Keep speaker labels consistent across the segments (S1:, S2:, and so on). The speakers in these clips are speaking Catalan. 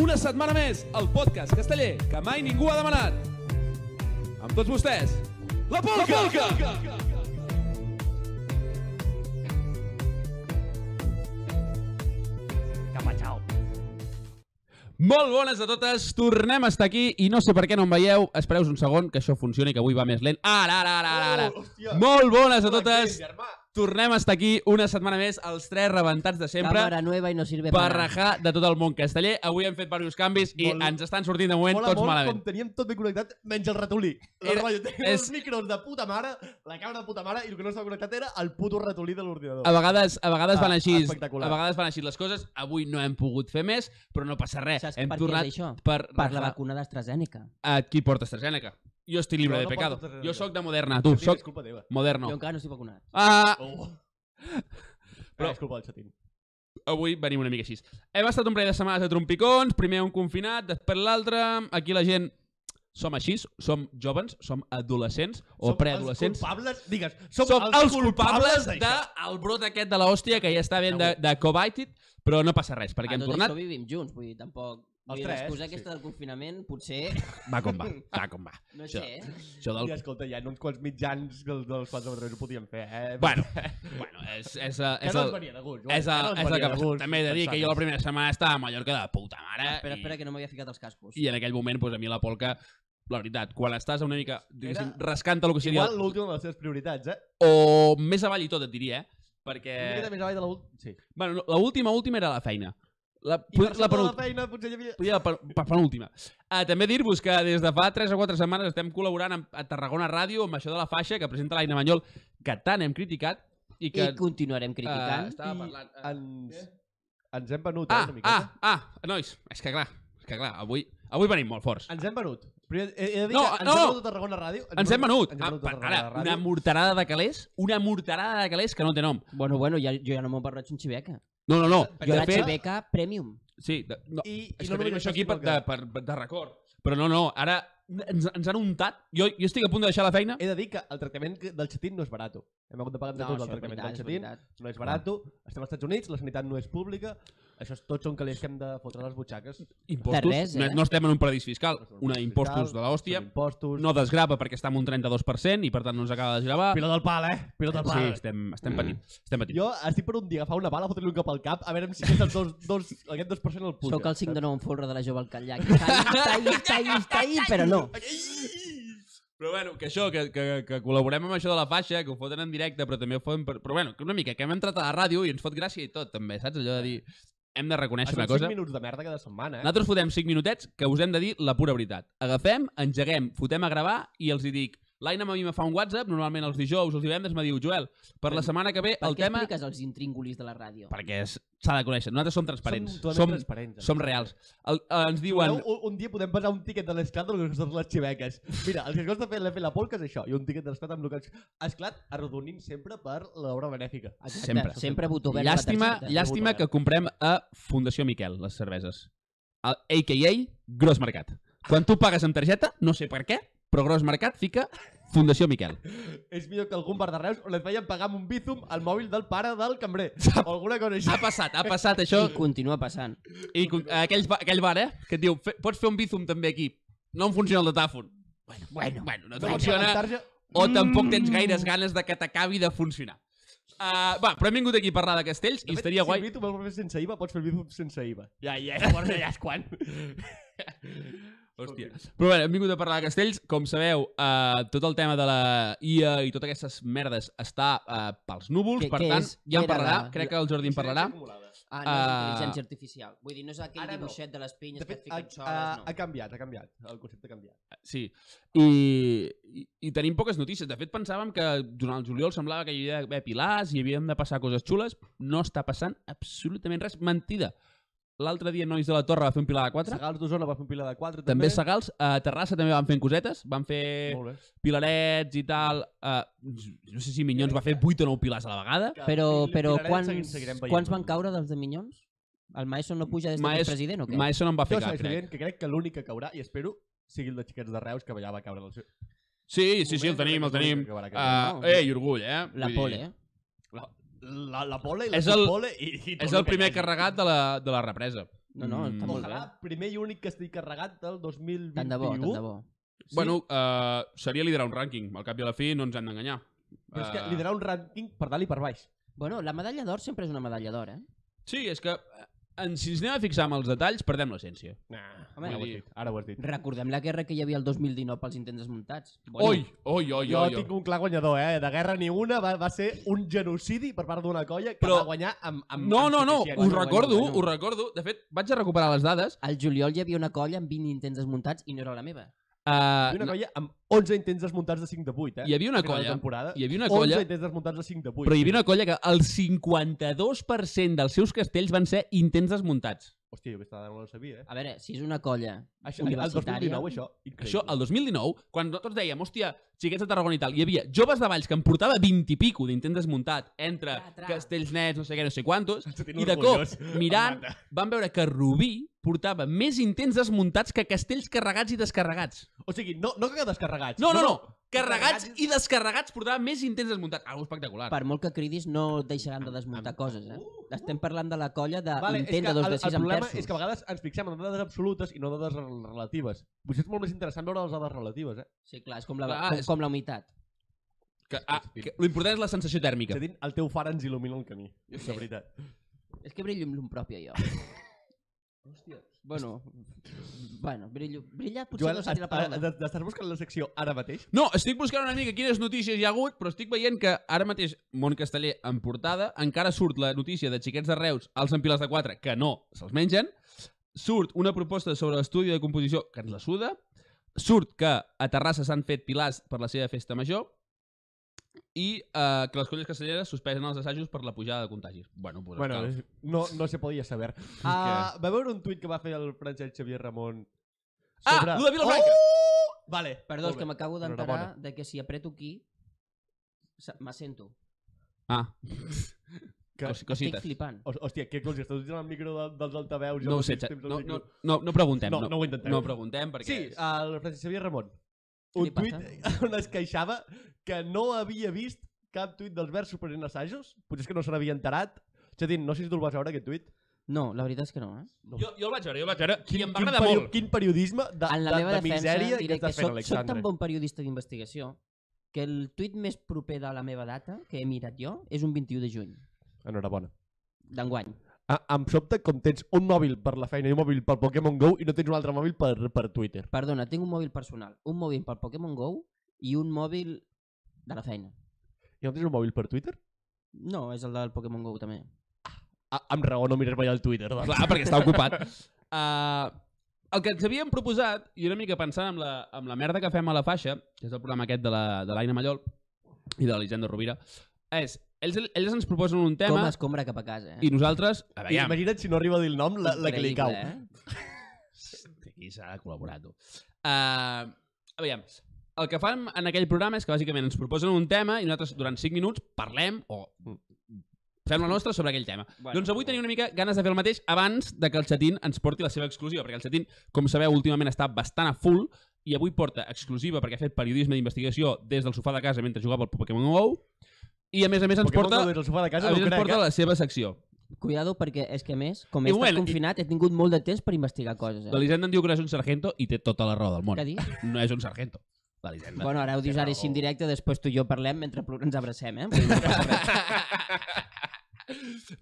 S1: Una setmana més, el podcast casteller que mai ningú ha demanat. Amb tots vostès, la Polca! La Polca!
S2: Capachao.
S1: Molt bones a totes, tornem a estar aquí i no sé per què no em veieu, espereu un segon que això funcioni, que avui va més lent. Ara, ara, ara, ara, ara.
S3: Oh, hòstia.
S1: Molt bones a
S3: Hola,
S1: totes,
S3: Cris, germà.
S1: tornem a estar aquí una setmana més, els tres rebentats de sempre,
S2: Cámara nueva y no sirve
S1: per
S2: para nada.
S1: rajar de tot el món casteller. Avui hem fet diversos canvis i
S3: Molt-
S1: ens estan sortint de moment
S3: Mola
S1: tots
S3: molt
S1: malament.
S3: com teníem tot ben connectat, menys el ratolí. La
S1: Era-
S3: rotllo, teníem
S1: és-
S3: els micros de puta mare, la càmera de puta mare, i el que no estava connectat era el puto ratolí de l'ordinador.
S1: A vegades, a vegades
S3: Ah,
S1: van així,
S3: espectacular.
S1: a vegades van així les coses. Avui no hem pogut fer més, però no passa res.
S2: Saps
S1: hem
S2: per què
S1: tornat
S2: és això?
S1: per,
S2: Per la
S1: rajar
S2: vacuna d'AstraZeneca.
S1: a qui porta AstraZeneca. Jo estic llibre
S3: No,
S1: de
S3: no
S1: pecado.
S3: porto AstraZeneca.
S1: jo sóc de Moderna, tu,
S3: Xatín,
S1: sóc
S3: És culpa teva.
S2: Jo
S1: Moderno.
S2: encara no estic vacunat.
S1: Ah,
S3: Oh.
S1: Però-
S3: Però... És culpa del xatín.
S1: avui venim una mica així. Hem estat un parell de setmanes de trompicons, primer un confinat, després l'altre. Aquí la gent som així, som jovens, som adolescents o preadolescents.
S3: Som els culpables, digues,
S1: Som,
S3: som,
S1: els, culpables del
S3: d'això.
S1: brot aquest de l'hòstia que ja està ben de,
S3: Segur.
S1: de Covited, però no passa res, perquè
S2: A
S1: hem
S2: Ah, tot
S1: tornat
S2: això vivim junts, vull dir, tampoc...
S3: Els
S2: Vull dir,
S3: tres,
S2: l'excusa
S3: sí.
S2: aquesta del confinament, potser,
S1: Va com va, va com va.
S2: no
S1: Això.
S2: sé, eh?
S1: Això del...
S3: I escolta, hi ha uns quants mitjans dels, dels quals nosaltres ho podíem fer, eh?
S1: Bueno, bueno és, és, la-
S3: que
S1: és
S3: no ens
S1: el...
S3: venia de gust.
S1: És, el,
S3: no ens
S1: és el
S3: venia
S1: que
S3: de
S1: passa.
S3: gust
S1: També he de dir que jo la primera setmana estava a Mallorca de puta mare
S2: Espera,
S1: i,
S2: espera, que no m'havia ficat els cascos.
S1: i en aquell moment doncs, a mi la polca, la veritat, quan estàs una mica diguéssim,
S3: Era-
S1: rascant el que seria
S3: Igual l'última de les seves prioritats, eh?
S1: o més avall i tot et diria, eh? Perquè...
S3: Una miqueta més avall de l'última. Sí.
S1: Bueno, no, l'última, última era la feina. La,
S3: I per
S1: la
S3: sota de la
S1: penúltima.
S3: feina potser hi havia...
S1: Podria la per, per penúltima. Uh, també dir-vos que des de fa 3 o 4 setmanes estem col·laborant amb, a Tarragona Ràdio amb això de la faixa que presenta l'Aina Manyol, que tant hem criticat i que...
S2: I continuarem
S1: eh,
S2: criticant.
S1: estava
S3: I
S1: parlant... eh,
S3: ens,
S1: què?
S3: ens hem venut eh,
S1: Ah,
S3: una miqueta.
S1: ah, ah, nois, és que clar, és que clar, avui, avui venim molt forts.
S3: Ens hem venut. Primer, he, he de dir
S1: ah. No,
S3: que ens
S1: no.
S3: hem venut a Tarragona Ràdio.
S1: Ens hem venut.
S3: Ens
S1: Ah,
S3: hem venut a
S1: per,
S3: Tarragona
S1: ara, una
S3: Ràdio.
S1: morterada de calés, una morterada de calés que no té nom.
S2: Bueno, bueno, ja, jo ja no m'ho parlat un xiveca.
S1: No, no, no.
S2: Jo
S1: De
S2: era
S1: fet,
S2: xiveca premium.
S1: sí, de, no,
S3: I,
S1: És
S3: i
S1: que
S3: no
S1: tenim
S3: només
S1: això aquí per, de,
S3: sinó que
S1: per, per, de record. Però no, no, ara ens, ens han untat. Jo, jo estic a punt de deixar la feina.
S3: He de dir que el tractament que- del xatín no és barato. Hem hagut de pagar entre tots el tractament del xatín. No és barato. Estem als Estats Units, la sanitat no és pública. Això és, tots són calés que hem de fotre a les butxaques.
S1: Impostos.
S2: de res, eh?
S1: no, no estem en un paradís fiscal.
S3: No estem en un
S1: Una
S3: paradís
S1: impostos
S3: fiscal,
S1: de l'hòstia.
S3: Són Impostos.
S1: No desgrava perquè està en un 32% i per tant no ens acaba de desgravar.
S3: Pilot del pal, eh? Pilot del
S1: Sí,
S3: pal.
S1: estem, estem patint. Estem patint.
S3: Mm. Jo estic per un dia agafar una bala, fotre-li un cap al cap, a veure si aquests dos, dos, aquest 2% el puja.
S2: Soc el 5 de 9 en folre de la jove al Catllac. Tallis, tallis, tallis, tallis, però no.
S1: Però bueno, que això, que, que, que col·laborem amb això de la faixa, que ho foten en directe, però també ho foten... Per... Però bueno, que una mica, que hem entrat a la ràdio i ens fot gràcia i tot, també, saps? Allò de dir... Hem de reconèixer
S3: Són
S1: una
S3: 5
S1: cosa.
S3: minuts de merda cada setmana, eh?
S1: Nosaltres fotem 5 minutets que us hem de dir la pura veritat. Agafem, engeguem, fotem a gravar i els hi dic l'Aina a mi me fa un WhatsApp, normalment els dijous o els divendres me diu Joel, per la setmana que ve
S2: Per
S1: el
S2: què
S1: tema...
S2: expliques els intríngulis de la ràdio?
S1: Perquè es- s'ha de conèixer. Nosaltres som transparents.
S3: Som,
S1: Som, som,
S3: transparents.
S1: reals. El, eh, ens diuen...
S3: Diuen... Un, un dia podem passar un tiquet de l'esclat del que costen les xiveques. Mira, el que costa fer, fer la polca és això, i un tiquet de l'esclat amb el que... Esclat arrodonint sempre per l'obra benèfica.
S2: Exacte,
S1: Sempre.
S2: Sempre botó verd a la
S1: Llàstima,
S2: targeta.
S1: llàstima que comprem a Fundació Miquel les cerveses. A- A.K.A. Gros Mercat. Quan tu pagues amb targeta, no sé per què, però Gros Mercat fica Fundació Miquel.
S3: És millor que algun bar de Reus on et feien pagar amb un bízum al mòbil del pare del cambrer. O alguna cosa així.
S1: Ha passat, ha passat això.
S2: I continua passant.
S1: I con- aquell, ba- aquell bar, eh, que et diu, "Fe- pots fer un bízum també aquí. No em funciona el datàfon. Bueno, bueno, bueno no te funciona
S3: Tarja...
S1: o tampoc tens gaires ganes de que t'acabi de funcionar. Uh, va, però hem vingut aquí a parlar de castells i estaria
S3: Si
S1: guai.
S3: el bízum el pots fer sense IVA, pots fer el bízum sense IVA.
S1: Ja, ja.
S3: Llavors allà és quan.
S1: Hòstia. Però bé, hem vingut a parlar de castells. Com sabeu, uh, tot el tema de la IA i totes aquestes merdes està uh, pels núvols,
S2: Què-
S1: per
S2: què
S1: tant,
S2: és?
S1: ja en
S2: Què era
S1: parlarà.
S2: la-
S1: Crec que el Jordi en parlarà.
S2: Ah, no, és
S1: Ah.
S2: intel·ligència artificial. Vull dir, no és aquell
S3: Ara no.
S2: dibuixet de les pinyes
S3: De
S2: que et
S3: fet, ha,
S2: fiquen
S3: ha,
S2: soles,
S3: ha
S2: no.
S3: canviat, ha canviat. El concepte ha canviat.
S1: Sí. I, i, I tenim poques notícies. De fet, pensàvem que durant el juliol semblava que hi havia d'haver pilars i havíem de passar coses xules. No està passant absolutament res. Mentida. L'altre dia Nois de la Torre va fer un pilar de 4.
S3: Segals d'Osona va fer un pila de 4 també.
S1: També Segals. A Terrassa també van fent cosetes. Van fer
S3: Molt bé.
S1: pilarets i tal. Uh, no sé si Minyons va fer 8 o 9 pilars a la vegada.
S2: Però,
S3: Li-
S2: però
S3: Pilaret
S2: quants,
S3: seguim- seguirem veient.
S2: quants van caure dels de Minyons? El Maeso no puja des de
S1: Maes-
S2: Maes, president o què?
S1: Mai això no en va
S3: Jo
S1: fer
S3: sé,
S1: cap, crec.
S3: evident, que crec que l'únic que caurà, i espero, sigui el de xiquets de Reus, que allà va caure. El seu...
S1: Sí, sí, sí, el
S3: moment,
S1: tenim, el
S3: crec que és
S1: tenim.
S3: l'únic que acabarà
S1: Uh,
S2: no?
S1: ei, orgull, eh? Vull
S2: La
S1: dir,
S2: pole, eh?
S3: La, la pole i la
S1: És el-
S3: pole i, i tot
S1: És el
S3: que hi
S1: primer
S3: hagi.
S1: carregat de la, de la represa.
S2: No, no,
S1: Mm.
S2: està molt bé.
S3: Ojalà, primer i únic que estic carregat del 2021.
S2: Tant de bo, tant de bo.
S1: Sí. Bueno, uh, seria liderar un rànquing. Al cap i a la fi no ens han d'enganyar.
S3: Però és que
S1: Eh,
S3: liderar un rànquing per dalt i per baix.
S2: Bueno, la medalla d'or sempre és una medalla d'or, eh?
S1: Sí, és que eh, en, si ens anem a fixar en els detalls, perdem l'essència.
S3: Nah,
S2: Home,
S3: ara, ho
S1: vull
S3: has
S1: dir-
S3: dit, ara ho has dit.
S2: Recordem la guerra que hi havia el 2019 pels intents desmuntats.
S1: Oi, oi, oi,
S3: Jo
S1: oi. oi.
S3: tinc un clar guanyador, eh? De guerra ni una, va, va ser un genocidi per part d'una colla que
S1: Però-
S3: va guanyar amb... amb eh?
S1: No,
S3: amb
S1: no, no,
S3: suficiència.
S1: ho recordo,
S2: bueno, bueno.
S1: ho recordo. De fet, vaig a recuperar les dades.
S2: Al juliol hi havia una colla amb 20 intents desmuntats i no era la meva.
S1: Uh,
S3: Hi havia una colla amb 11 intents desmuntats de 5 de 8, eh?
S1: hi havia una
S3: Final de
S1: colla,
S3: temporada.
S1: hi havia una colla
S3: 11 intents desmuntats de 5 de eh? 8.
S1: però hi havia una colla que el 52% dels seus castells van ser intents desmuntats.
S3: Hòstia, jo aquesta dada no la sabia, eh?
S2: A veure, si és una colla...
S3: Això, el
S2: universitària.
S3: 2019, això. Increïble.
S1: Això, el 2019, quan nosaltres dèiem, hòstia, xiquets de Tarragona i tal, hi havia joves de Valls que em portava 20 i pico d'intents desmuntat entre
S2: Tra, tra.
S1: castells nets, no sé què, no sé quantos,
S3: Sentit
S1: i de cop,
S3: orgullós.
S1: mirant,
S3: Em mata.
S1: van veure que Rubí portava més intents desmuntats que castells carregats i descarregats.
S3: O sigui, no, no que descarregats.
S1: No, no, no, carregats i descarregats portava més intents desmuntats. Algo espectacular.
S2: Per molt que cridis, no deixaran de desmuntar coses, eh? Estem parlant de la colla de
S3: Uh, Vale, és que
S2: intent de dos
S3: el,
S2: de
S3: el
S2: sis amb
S3: problema
S2: terços.
S3: és que a vegades ens fixem en dades absolutes i no dades rel- relatives. Potser és molt més interessant veure les dades relatives, eh?
S2: Sí, clar, és com la,
S1: Clar,
S2: com,
S1: és-
S2: com la humitat.
S1: Que, ah, que, L'important és la sensació
S3: És
S1: tèrmica.
S3: a dir, el teu far ens il·lumina el camí, de veritat.
S2: És que brillo amb llum pròpia, jo.
S3: Hòstia.
S2: bueno, bueno, brillo... Brillar potser
S3: Joel,
S2: no seria la paraula.
S3: estàs buscant la secció ara mateix?
S1: No, estic buscant una mica quines notícies hi ha hagut, però estic veient que ara mateix Mont Casteller en portada, encara surt la notícia de xiquets de Reus als empilars de 4, que no se'ls mengen, surt una proposta sobre l'estudi de composició que ens la suda, surt que a Terrassa s'han fet pilars per la seva festa major i eh, que les colles castelleres suspenen els assajos per la pujada de contagis. Bueno, pues
S3: Bueno,
S1: està.
S3: no, no se podia saber. Ah, va veure un tuit que va fer el Francesc Xavier Ramon
S1: Ah,
S3: sobre...
S1: lo de Vilafranca!
S3: Oh! Vale.
S2: Perdó,
S3: molt
S2: és que
S3: bé.
S2: m'acabo
S3: Enhorabona.
S2: d'enterar de que si apreto aquí, se- me sento.
S1: Ah,
S3: Que-
S1: cos,
S2: Estic
S1: cosites.
S2: flipant.
S3: Hòs- Hòstia, què cols, estàs utilitzant el micro de, dels altaveus?
S1: No ho sé, Xavi. no, no, no, no preguntem.
S3: no, no ho intentem.
S1: no preguntem perquè...
S3: Sí,
S1: és-
S3: el Francesc Xavier Ramon.
S2: Què
S3: Un
S2: li
S3: tuit
S2: passa?
S3: on es queixava que no havia vist cap tuit dels verds superant assajos. Potser és que no se n'havia enterat. És a dir, no sé si tu el vas veure, aquest tuit.
S2: No, la veritat és que no, eh?
S1: Jo, jo el vaig veure, jo el vaig veure. Quin, I em va
S3: quin,
S1: agradar
S3: perio-
S1: molt.
S3: quin periodisme de,
S2: en la
S3: de,
S2: meva
S3: de
S2: defensa
S3: misèria que
S2: diré que
S3: estàs fent,
S2: soc, soc
S3: Alexandre.
S2: tan bon periodista d'investigació que el tuit més proper de la meva data que he mirat jo és un 21 de juny
S3: Enhorabona.
S2: d'enguany.
S3: A, em sobta com tens un mòbil per la feina i un mòbil per Pokémon GO i no tens un altre mòbil per, per Twitter.
S2: Perdona, tinc un mòbil personal, un mòbil per Pokémon GO i un mòbil de la feina.
S3: I no tens un mòbil per Twitter?
S2: No, és el del Pokémon GO també.
S3: A, amb raó no mires mai el Twitter. Doncs.
S1: Clar, perquè està ocupat. Uh, el que ens havíem proposat, i una mica pensant amb la, amb la merda que fem a la faixa, que és el programa aquest de la- de l'Aina la, Mallol i de l'Elisenda Rovira, és, ells, ells ens proposen un
S2: Com
S1: tema
S2: escombra cap a casa, eh?
S1: i nosaltres, a
S3: I
S1: veure,
S3: imagina't si no arriba a dir el nom, la, la que li cau.
S2: Increïble, Eh?
S1: aquí s'ha de col·laborar, tu. Uh, a veure, el que fan en aquell programa és que bàsicament ens proposen un tema i nosaltres durant 5 minuts parlem o
S3: Mm.
S1: fem la nostra sobre aquell tema. Bueno, doncs avui tenia una mica ganes de fer el mateix abans de que el Chatín ens porti la seva exclusiva, perquè el Chatín, com sabeu, últimament està bastant a full i avui porta exclusiva perquè ha fet periodisme d'investigació des del sofà de casa mentre jugava al Pokémon GO i a més a més ens
S3: Pokémon
S1: porta,
S3: GO des del sofà de
S1: a
S3: casa,
S1: més,
S3: no ho
S1: ens
S3: crec,
S1: porta
S3: eh?
S1: la seva secció.
S2: Cuidado perquè és que a més, com
S1: I
S2: he estat
S1: bueno, i-
S2: confinat, he tingut molt de temps per investigar coses, eh?
S1: L'Elisenda em diu que no és un sargento i té tota la raó del món.
S2: Què dius?
S1: No és un sargento, l'Elisenda.
S2: Bueno, ara ho dius ara així en directe, després tu i jo parlem mentre plo- ens abracem, eh? Vull dir,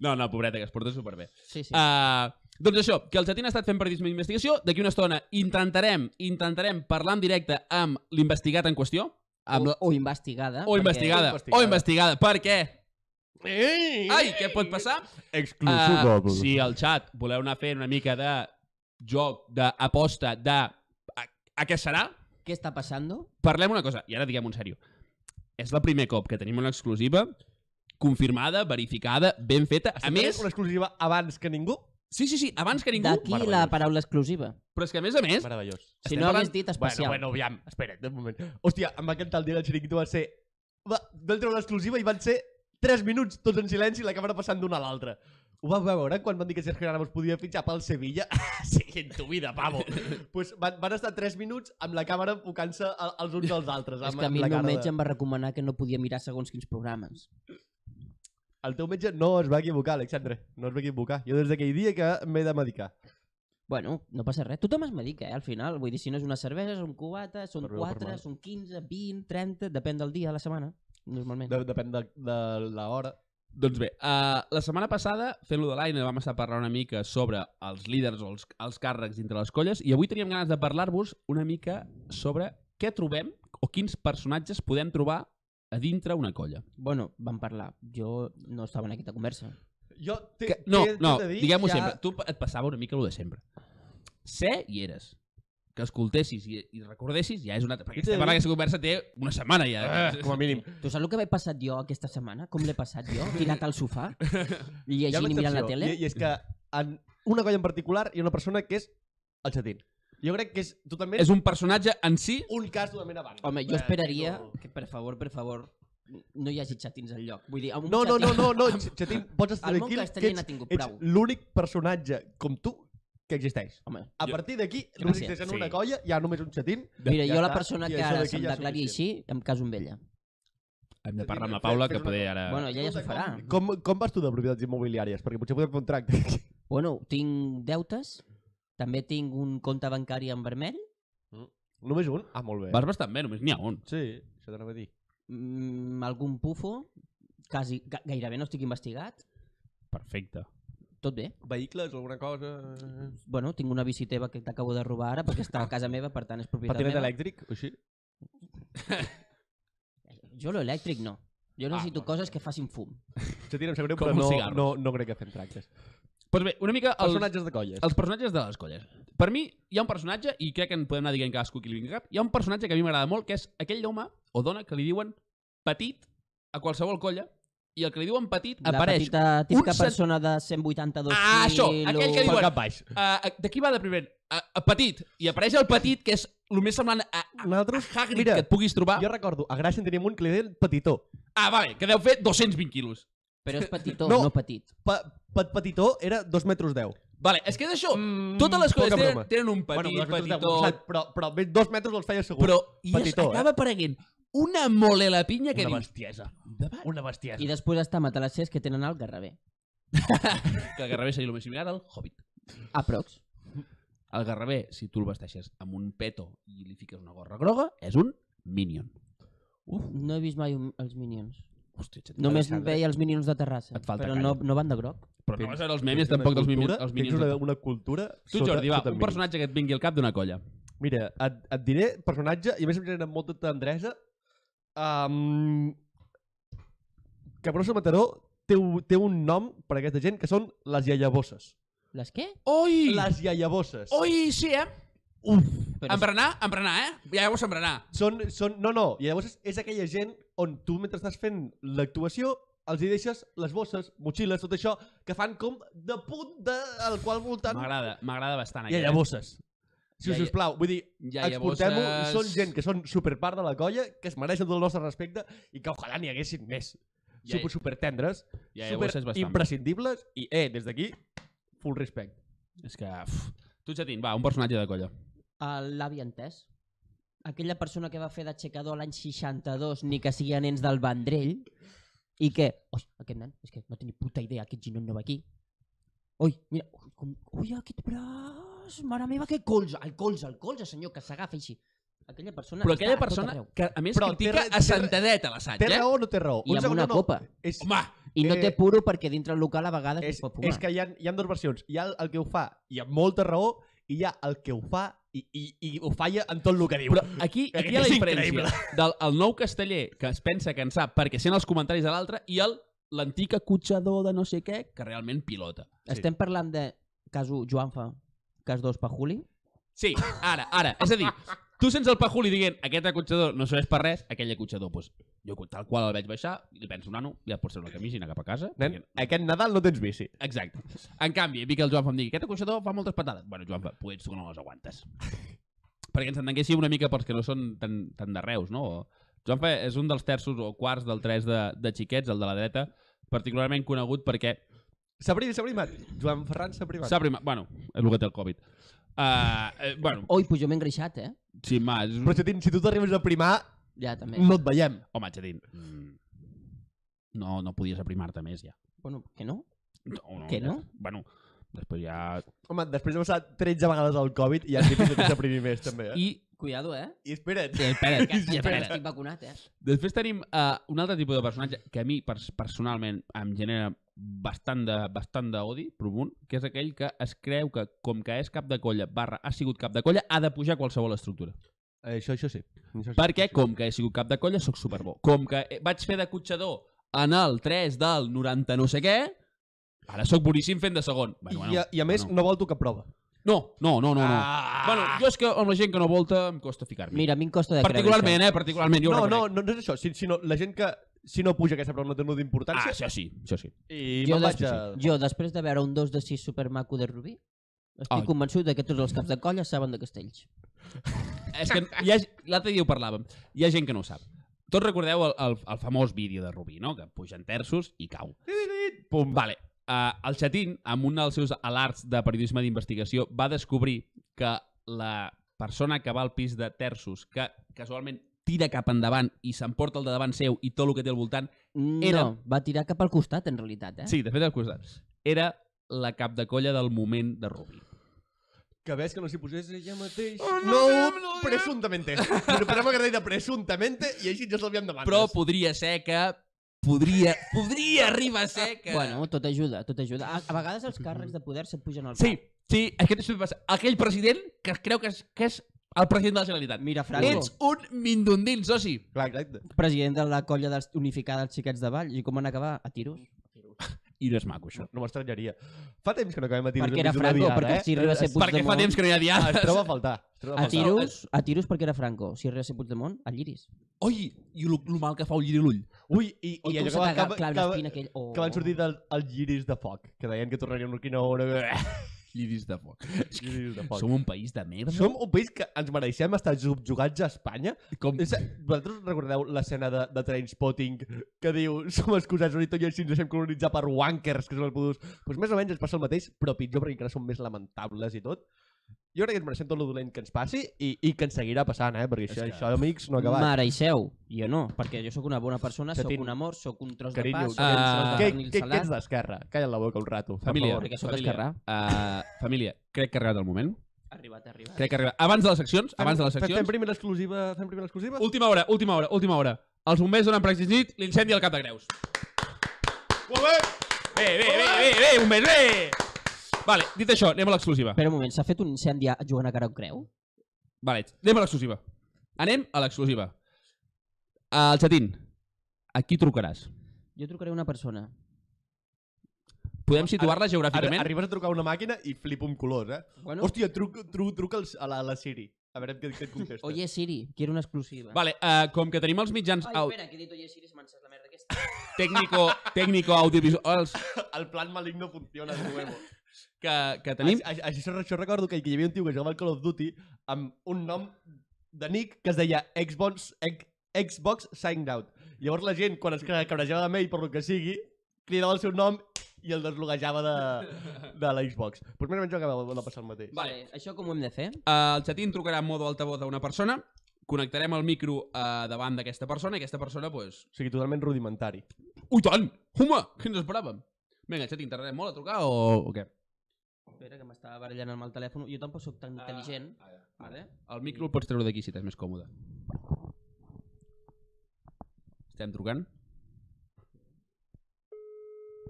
S1: No, no, pobreta, que es porta superbé.
S2: Sí, sí.
S1: Uh, doncs això, que el Chatín ha estat fent periodisme d'investigació. D'aquí una estona intentarem intentarem parlar en directe amb l'investigat en qüestió. Amb
S2: o,
S1: la...
S2: o investigada.
S1: o, investigada. o
S3: O
S1: investigada. Per què?
S3: Ei!
S1: Ai, què pot passar?
S3: Exclusiva. doncs.
S1: Eh, si al chat voleu anar fent una mica de joc, d'aposta, de... A, a què serà?
S2: Què està passant?
S1: Parlem una cosa, i ara diguem-ho en sèrio. És el primer cop que tenim una exclusiva confirmada, verificada, ben feta. A més...
S3: Una exclusiva abans que ningú.
S1: Sí, sí, sí, abans que ningú...
S2: D'aquí la paraula exclusiva.
S1: Però és que, a més a més,
S3: Meravellós.
S2: Si
S1: Estem
S2: no
S1: parlant-
S2: hagués dit especial.
S3: Bueno, bueno, aviam, espera't un moment. Hòstia, em va encantar el dia del xiringuito, va ser... Va, vam treure l'exclusiva i van ser 3 minuts tots en silenci i la càmera passant d'una a l'altra. Ho vas veure quan van dir que Sergio Ramos podia fitxar pel Sevilla? sí, en tu vida, pavo. pues van, van estar 3 minuts amb la càmera enfocant-se a- als uns dels altres.
S2: és
S3: amb-
S2: que a mi
S3: amb
S2: el
S3: la
S2: meu
S3: cara de-
S2: metge em va recomanar que no podia mirar segons quins programes.
S3: El teu metge no es va equivocar, Alexandre. No es va equivocar. Jo des d'aquell dia que m'he de medicar.
S2: Bueno, no passa res. Tothom es medica, eh, al final. Vull dir, si no és una cervesa, és un cubata, són
S3: Per bé o per
S2: 4,
S3: mal.
S2: són 15, 20, 30, depèn del dia, de la setmana, normalment.
S3: De, depèn de, de l'hora.
S1: Doncs bé, uh, la setmana passada, fent-lo de l'Aina, vam estar parlant una mica sobre els líders o els, els càrrecs dintre les colles i avui teníem ganes de parlar-vos una mica sobre què trobem o quins personatges podem trobar a dintre una colla.
S2: Bueno, vam parlar. Jo no estava en aquesta conversa.
S3: Jo t'he-
S1: Que, no,
S3: t'he- t'he
S1: no,
S3: de dir,
S1: diguem-ho ja... sempre. Tu et passava una mica el de sempre. Ser hi eres. Que escoltessis i, i recordessis ja és una altra... Perquè
S3: Jo t'he de
S1: estem parlant
S3: dir-
S1: que aquesta conversa té una setmana ja. eh?
S3: Ah, com a mínim.
S2: Tu saps el que m'he passat jo aquesta setmana? Com l'he passat jo? Tirat al sofà,
S3: Hi ha una
S2: llegint i mirant la
S3: excepció,
S2: tele?
S3: I, I és que en una colla en particular hi ha una persona que és el Xatín. Jo crec que és totalment
S1: És un personatge en si...
S3: un cas totalment avant.
S2: Home, jo
S3: Eh,
S2: esperaria
S3: no.
S2: que, per favor, per favor, no hi hagi xatins al lloc. Vull dir, amb un
S3: No, no,
S2: xatín-
S3: no, no, no, X- Xatín, pots estar
S2: El món
S3: tranquil que
S2: casteller n'ha
S3: ets,
S2: tingut
S3: ets
S2: prou.
S3: l'únic personatge com tu que existeix.
S2: Home,
S3: A
S1: Jo-
S3: partir d'aquí,
S2: Gràcies,
S3: només existeix en una
S1: sí.
S3: colla, hi ha només un Xatín.
S2: mira,
S3: ja
S2: jo la
S3: està,
S2: persona
S3: i
S2: que
S3: això
S2: ara
S3: d'aquí
S2: se'm
S3: ja és
S2: declari així, em caso amb ella.
S1: Hem de
S3: Xatín,
S1: parlar amb la
S3: fes-
S1: Paula,
S3: fes
S1: que
S3: una
S1: poder
S3: cosa.
S1: ara...
S2: Bueno, ella ja s'ho farà.
S3: Com, com vas tu de propietats immobiliàries? Perquè potser podem fer un tracte.
S2: Bueno, tinc deutes, també tinc un compte bancari en vermell,
S3: Només un? Ah, molt bé.
S1: Vas bastant bé, només n'hi ha un.
S3: Sí, això t'anava a dir.
S2: mm, algun pufo, quasi, ga gairebé no estic investigat,
S1: Perfecte.
S2: tot bé.
S3: Vehicles, alguna cosa...
S2: Bueno, tinc una bici teva que t'acabo de robar ara perquè està a casa meva, per tant és propietat
S3: Patinet
S2: meva.
S3: elèctric, o així?
S2: Jo l'elèctric no. Jo
S1: Ah,
S2: necessito
S1: bueno.
S2: coses que facin fum.
S3: Xatín, em sap greu,
S1: Com
S3: però
S1: un
S3: no,
S1: cigarro.
S3: no, no crec que fem tractes.
S1: Doncs bé, una mica els,
S3: Personatges de colles.
S1: els personatges de les colles. Per mi, hi ha un personatge, i crec que en podem anar dient cadascú qui li vingui al cap, hi ha un personatge que a mi m'agrada molt, que és aquell home o dona que li diuen petit a qualsevol colla, i el que li diuen petit
S2: La
S1: apareix.
S2: petita típica
S1: cent-
S2: persona de 182
S1: Ah, això, aquell que
S2: quilos.
S1: diuen-
S3: Pel cap baix.
S1: Uh, de qui va de primer? A, a petit. I apareix el petit, que és el més semblant a, a, a
S3: Nosaltres,
S1: Hagrid
S3: mira,
S1: que et puguis trobar.
S3: jo recordo, a Gràcia en teníem un que li deien Petitó.
S1: Ah, vale, que deu fer 220 quilos.
S2: Però és petitó,
S3: No.
S2: no, no petit.
S3: Pa, pa, petitó era 2 metres 10.
S1: Vale, és que és això.
S3: Mm,
S1: Oh, Totes les colles
S3: poca
S1: tenen,
S3: broma.
S1: tenen un petit,
S3: dos metres deu,
S1: petitó,
S3: posat, però, però almenys 2 metres els feia segur.
S1: però i es
S3: Petitó, eh?
S1: acaba apareguent una mole a la pinya que
S3: Una
S1: dius... bestiesa.
S3: Una bestiesa.
S2: I després està matalassers que tenen el Garraver.
S1: Que el Garraver seria el més similar al Hobbit.
S2: Aprox.
S1: El Garraver, si tu el vesteixes amb un peto i li fiques una gorra groga, és un Minion.
S2: No he vist mai un, els Minions.
S1: Hòstia, xatet.
S2: Només
S3: Alexandre.
S2: veia els Minions de Terrassa,
S1: Et falta
S2: però
S1: canya.
S2: no, no van de groc.
S1: eh? Però no vas veure els
S3: Tens
S1: memes
S3: una
S1: tampoc dels, minions,
S3: cultura-
S1: els
S3: Tens
S1: Minions.
S3: una,
S1: de-
S3: una cultura...
S1: Tu, Jordi, va,
S3: sota
S1: un
S3: mínims.
S1: personatge que et vingui al cap d'una colla.
S3: Mira, et, et diré personatge, i a més em genera molta tendresa, um, que Brossa Mataró té, un- té un nom per a aquesta gent que són les iaiabosses.
S2: Les què?
S1: Oi!
S3: Les iaiabosses.
S1: Oi, sí, eh?
S2: Però és-
S1: Embrenar, embrenar, eh? Ja llavors embrenar.
S3: Són, són, no, no, i llavors és- és aquella gent on tu mentre estàs fent l'actuació els hi deixes les bosses, motxilles, tot això, que fan com de punt de, al qual voltant...
S1: M'agrada, m'agrada bastant.
S3: I allà bosses. Si us
S1: Iaia-
S3: plau, vull dir,
S1: Ja,
S3: exportem-ho, són gent que són superpart de la colla, que es mereixen tot el nostre respecte i que ojalà n'hi haguessin més.
S1: Iaia-
S3: Super, super tendres,
S1: Ja,
S3: super
S1: llavors és bastant.
S3: imprescindibles i, eh, des d'aquí, full respect.
S1: És que... Uf. Tu, Xatín, va, un personatge de colla.
S2: A l'avi entès. Aquella persona que va fer d'aixecador l'any 62, ni que siguin nens del Vendrell, i que... Oi, aquest nen, és que no té ni puta idea, aquest ginon no va aquí. Oi, mira, ui, com... Ui, aquest braç, mare meva, que colze, el colze, el colze, senyor, que s'agafa així. Aquella persona
S1: Però
S2: està
S1: aquella
S2: a tot
S1: persona
S2: arreu.
S1: que, a més,
S3: Però té
S1: critica
S3: ra-
S1: a
S3: té ra-
S1: Santadet a l'assaig,
S3: Té
S1: eh?
S3: raó o no té raó?
S2: I
S3: Un
S2: amb
S3: segon, no,
S2: una
S3: no.
S2: copa.
S3: És,
S1: Home,
S2: I no
S3: eh,
S2: té puro perquè dintre el local a vegades
S3: és,
S2: es pot fumar.
S3: és que hi ha, hi ha dues versions. Hi ha el- el que ho fa, i amb molta raó, i hi ha el que ho fa i, i, i ho falla en tot el que diu.
S1: però aquí, aquí hi ha la
S3: És
S1: diferència
S3: increïble.
S1: del el nou casteller que es pensa que en sap perquè sent els comentaris de l'altre i el l'antic acotxador de no sé què que realment pilota.
S3: Sí.
S2: Estem parlant de cas 1, Joanfa, cas 2, Pajuli.
S1: Sí, ara, ara. És a dir, tu sents el Pajuli dient aquest acotxador no serveix per res, aquell acotxador, doncs, jo tal qual el veig baixar, li penso, nano, ja et pots treure la camisa i anar cap a casa.
S3: Nen, aquest Nadal no tens bici.
S1: Exacte. En canvi, vi que el Joan fa em digui, aquest acotxador fa moltes patades. Bueno, Joan fa, potser tu no les aguantes. Perquè ens entenguéssim una mica pels que no són tan, tan de Reus, no? O- Joan fa és un dels terços o quarts del tres de, de xiquets, el de la dreta, particularment conegut perquè
S3: S'ha privat, s'ha privat. Joan Ferran s'ha privat.
S1: s'ha primat... Bueno, és el que té el Covid. Uh, eh, bueno,
S2: Oi, pues jo m'he engreixat, eh?
S1: sí, mà, és...
S3: Però Xatín, si tu t'arribes a primar,
S2: Ja, també.
S3: no et veiem.
S1: Home, Xatín, mm, no, no podies aprimar-te més, ja.
S2: Bueno, que no?
S1: No, no,
S2: Què no?
S1: Bueno, Després ja...
S3: Home, després de passar 13 vegades al Covid, ja és difícil que s'aprimi més, també. Eh? I,
S1: I...
S2: Cuidado, eh?
S3: I espera't.
S1: Eh, espera't,
S2: Que, que,
S1: espera't.
S2: estic vacunat, eh?
S1: Després tenim uh, un altre tipus de personatge que a mi pers personalment em genera bastant de, bastant d'odi profund, que és aquell que es creu que com que és cap de colla barra ha sigut cap de colla, ha de pujar a qualsevol estructura.
S3: Eh, això, això sí. Això sí.
S1: Perquè com que he sigut cap de colla sóc superbo. Com que eh, vaig fer de cotxador en el 3 del 90 no sé què, ara sóc boníssim fent de segon. Bueno, bueno,
S3: I, a, I a més,
S1: bueno.
S3: no vol tocar prova.
S1: No, no, no, no. no.
S3: Ah!
S1: Bueno, jo és que amb la gent que no volta em costa ficar-m'hi.
S2: Mira, a mi em costa de creure.
S1: Particularment, eh? Particularment, jo ho
S3: no, no,
S1: reconec.
S3: no, no és això. Si, si no, la gent que si no puja aquesta prova no té nul
S1: Ah,
S3: d'importància
S1: això sí, això sí.
S3: i
S2: Jo,
S3: eh? me'n vaig a...
S2: des... jo, després de veure un 2 de 6 supermaco de Rubí, estic
S1: Ai.
S2: convençut de que tots els caps de colla saben de castells.
S1: És que hi ha- l'altre dia ho parlàvem. Hi ha gent que no ho sap. Tots recordeu el, el, el famós vídeo de Rubí, no? Que puja en terços i cau. Pum. Vale. Uh, el Chatín, amb un dels seus alarts de periodisme d'investigació, va descobrir que la persona que va al pis de terços, que casualment tira cap endavant i s'emporta el de davant seu i tot el que té al voltant, Era-
S2: No, va tirar cap al costat, en realitat, eh?
S1: sí, de fet al costat, era la cap de colla del moment de Rubí.
S3: Que ves que no s'hi posés ella mateix. Oh, no, no, no, presuntamente. Però posem el cartell de presuntamente i així ja s'alviem de
S1: Però podria ser que... Podria, podria arribar a ser que...
S2: Bueno, tot ajuda, tot ajuda. A, a vegades els càrrecs de poder se't pugen al
S1: Sí,
S2: cap.
S1: sí, és que t'ho estic pensant. Aquell president que es creu que és, que és el president de la Generalitat.
S2: Mira, Franco,
S1: Ets un mindundin, soci.
S3: Clar, exacte.
S2: president de la colla dels unificada dels xiquets de Vall, i com van acabar? A tiros?
S1: I no és maco, això.
S3: No m'estranyaria. Fa temps que no acabem a tiros
S2: Perquè
S3: enmig
S2: era
S3: d'una
S2: Franco,
S3: diada,
S2: perquè
S3: eh?
S2: si arriba a ser Puigdemont...
S1: Perquè fa temps que no hi ha
S3: Ah, Es
S1: diades.
S3: troba a faltar. Es troba
S2: A
S3: faltar.
S2: tiros, a tiros perquè era Franco. Si arriba a ser Puigdemont, a lliris.
S1: Oi, i lo, lo mal que fa el lliri l'ull.
S3: Ui, i,
S2: O
S3: i
S2: com
S3: allò que,
S2: se
S3: va,
S2: t'agaf-
S3: que,
S2: clar,
S3: va-
S2: l'espina aquell, oh.
S3: que van sortir del, els lliris de foc, que deien que tornaria una quina hora...
S1: Lliris de foc. És que
S3: lliris de foc.
S1: Som un país de merda.
S3: Som un país que ens mereixem estar subjugats a Espanya.
S1: Com...
S3: És, vosaltres recordeu l'escena de, de Trainspotting que diu som escusats i tot i així ens deixem colonitzar per wankers, que són els pudus. Pues Doncs més o menys ens passa el mateix, però pitjor perquè encara som més lamentables i tot. Jo crec que ens mereixem tot el dolent que ens passi i, i que ens seguirà passant, eh? Perquè
S1: És
S3: això,
S1: que-
S3: això amics, no ha acabat.
S2: Mare i seu. Jo no, perquè jo sóc una bona persona, sóc
S3: Chatín.
S2: un amor, sóc un tros
S3: Carinyo,
S2: de pa, sóc
S1: ah,
S2: un tros de
S3: que, que,
S2: pernil
S3: que ets
S2: salat.
S3: d'esquerra? Calla la boca un rato. per
S1: Família,
S3: favor.
S2: perquè sóc
S1: família,
S2: esquerrà.
S1: uh, família, crec que ha arribat el moment.
S2: Arribat, arribat.
S1: Crec que ha arribat. Abans de les seccions, abans de les
S3: Fem- Fem, fem
S1: seccions...
S3: primer l'exclusiva, fem primer l'exclusiva.
S1: Última hora, última hora, última hora. Els bombers donen per exigit l'incendi al cap de Greus. Bé, bé, bé, bé, bé, bombers, bé! Vale, dit això, anem a l'exclusiva.
S2: Espera un moment, s'ha fet un incendi a- jugant a cara a un creu?
S1: Vale, anem a l'exclusiva. Anem a l'exclusiva. El Chatín, a qui trucaràs?
S2: Jo trucaré a una persona.
S1: Podem situar-la
S3: Ara,
S1: geogràficament?
S3: arribes a trucar a una màquina i flipo amb colors, eh?
S2: Bueno,
S3: Hòstia, truca, truca, truca als- a la, a la Siri. A veure què, què et contesta.
S2: Oye Siri, quiero una exclusiva.
S1: Vale, uh, com que tenim els mitjans
S2: Ai,
S1: au
S2: espera, que he dit Oye Siri, se m'ha encès la merda aquesta.
S1: tècnico, tècnico audiovisuals
S3: El plan maligno funciona de nuevo.
S1: que, que
S3: Tenim...
S1: tenim...
S3: Això, això, això recordo que, que hi havia un tio que jugava al Call of Duty amb un nom de nick que es deia Xbox, X, Xbox Signed Out. Llavors la gent, quan es cra- cabrejava amb ell per lo que sigui, cridava el seu nom i el desloguejava de, de la Xbox. Doncs Però més o menys jo acabava de passar el mateix.
S2: Vale, això com ho hem de fer?
S1: Uh, el Chatín trucarà en modo altavoz a una persona, connectarem el micro uh, davant d'aquesta persona i aquesta persona, doncs...
S3: O sigui, totalment rudimentari.
S1: Pues... Ui, tant! Home, què ens esperàvem? Vinga, Chatín, tardarem molt a trucar o, o què?
S2: Espera, que m'estava barallant amb el telèfon. Jo tampoc sóc tan intel·ligent. Vale.
S1: El micro el pots treure d'aquí si t'és més còmode. Estem trucant?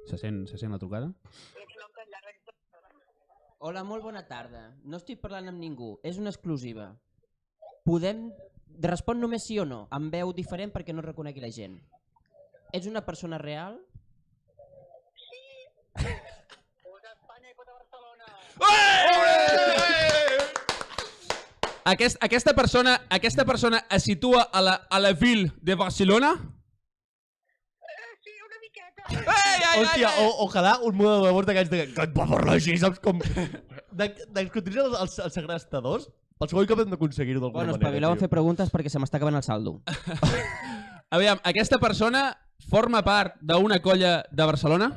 S1: Se sent, se sent la trucada?
S2: Hola, molt bona tarda. No estic parlant amb ningú, és una exclusiva. Podem... Respon només sí o no, amb veu diferent perquè no et reconegui la gent. Ets una persona real?
S1: Aquest, aquesta, persona, aquesta persona es situa a la, a la vil de Barcelona?
S4: Eh, Sí, una miqueta.
S1: Ei, ai,
S3: Hòstia,
S1: ai, ai.
S3: o, ojalà un mudó de bord d'aquests de... Que et va parlar així, saps com... De, de escotir els, els, els segrestadors? El segon cop hem d'aconseguir-ho d'alguna
S2: Bueno,
S3: manera. Ah,
S2: espavileu a
S3: tio.
S2: fer preguntes perquè se m'està acabant el saldo.
S1: Aviam, aquesta persona forma part d'una colla de Barcelona?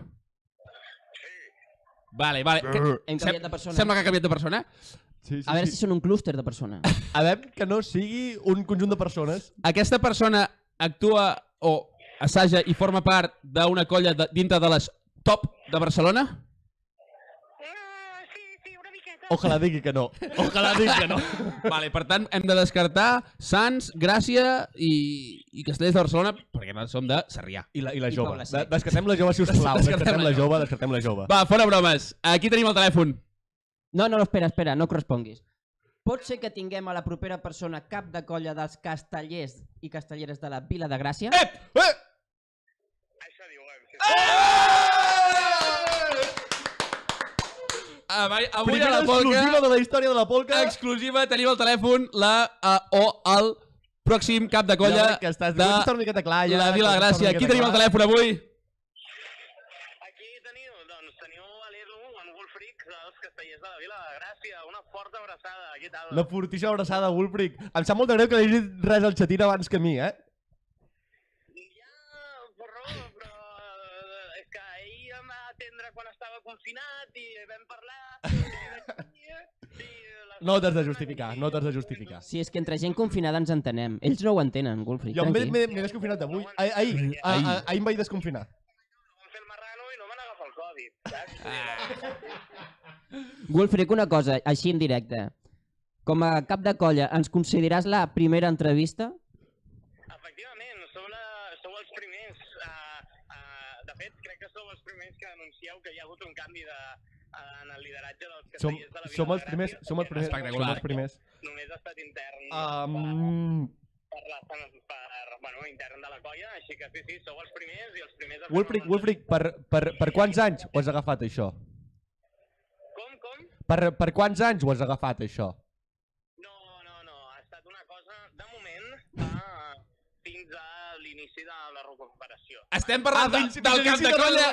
S1: Vale, vale. Que-
S2: Hem
S1: sem-
S2: canviat de persona.
S1: Sembla que ha canviat de persona.
S3: Sí, sí,
S2: A veure si són un clúster de persona.
S3: A veure que no sigui un conjunt de persones.
S1: Aquesta persona actua o assaja i forma part d'una colla de, dintre de les top de Barcelona?
S4: Eh,
S3: Ojalà digui que no. Ojalà digui que no.
S1: Vale, per tant, hem de descartar Sants, Gràcia i, i Castellers de Barcelona, perquè nosaltres som de Sarrià.
S3: I la, i la
S2: I
S3: jove.
S2: Paula
S3: De-
S2: Seix.
S3: Descartem la jove, si us plau.
S1: Descartem
S3: Descartem
S1: la
S3: la jove, descartem la jove.
S1: Va, fora bromes. Aquí tenim el telèfon.
S2: No, no, no, espera, espera, no corresponguis. Pot ser que tinguem a la propera persona cap de colla dels castellers i castelleres de la Vila de Gràcia?
S1: Ep! Eh!
S4: Això diu, eh?
S1: Avui, Ah, avui a
S3: Primera
S1: la polca,
S3: exclusiva de la història de la polca.
S1: exclusiva, tenim el telèfon, la uh, o el pròxim cap de colla
S3: Ja veig que estàs,
S1: de
S3: comença a estar una miqueta clar, ja,
S1: la Vila de
S3: comença a
S1: Gràcia. Aquí
S3: estar una miqueta
S1: tenim el
S3: clar.
S1: telèfon avui.
S4: Aquí teniu, doncs, teniu a l'Edu, en Wolfric, dels castellers de la Vila de Gràcia. Una forta abraçada, què tal?
S3: Una fortíssima abraçada, Wolfric. Em sap molt de greu que li hagi dit res al xatín abans que a mi, eh?
S4: Ja, porró, però eh, és que ahir em va atendre quan estava confinat i vam parlar... i vaig dir, i les-
S3: No t'has de justificar, no t'has de justificar.
S2: Si és que entre gent confinada ens entenem. Ells no ho entenen, Gulfric,
S3: Jo m'he
S2: tranqui.
S3: m'he- m'he desconfinat avui. Ahir, ahir, ah, ah, ahir em vaig desconfinar.
S4: Vam fer el marrano i no van agafar el Covid, saps?
S2: Gulfric, una cosa, així en directe. Com a cap de colla, ens consideràs la primera entrevista?
S4: Efectivament, sou, la, sou els primers. Uh, uh, de fet, crec que sou els primers que anuncieu que hi ha hagut un canvi de, uh, en el lideratge dels
S3: Som,
S4: castellers de la Vila
S3: som els
S4: de Gràcia,
S3: primers, som els primers,
S4: perquè
S3: som els primers.
S4: Només ha estat intern um...
S3: Um,
S4: per, per, la, per, bueno, intern de la colla, així que sí, sí, sou els primers i els primers... a fer
S3: Wolfric,
S4: una-
S3: Wolfric, per, per, per quants anys ho has agafat, això?
S4: Com, com?
S3: Per, per quants anys ho has agafat, això?
S1: Ah,
S4: No, no, no, ha estat una cosa, de moment, uh, fins a l'inici de la recuperació.
S1: Estem
S3: Ah,
S1: parlant de, del cap de colla.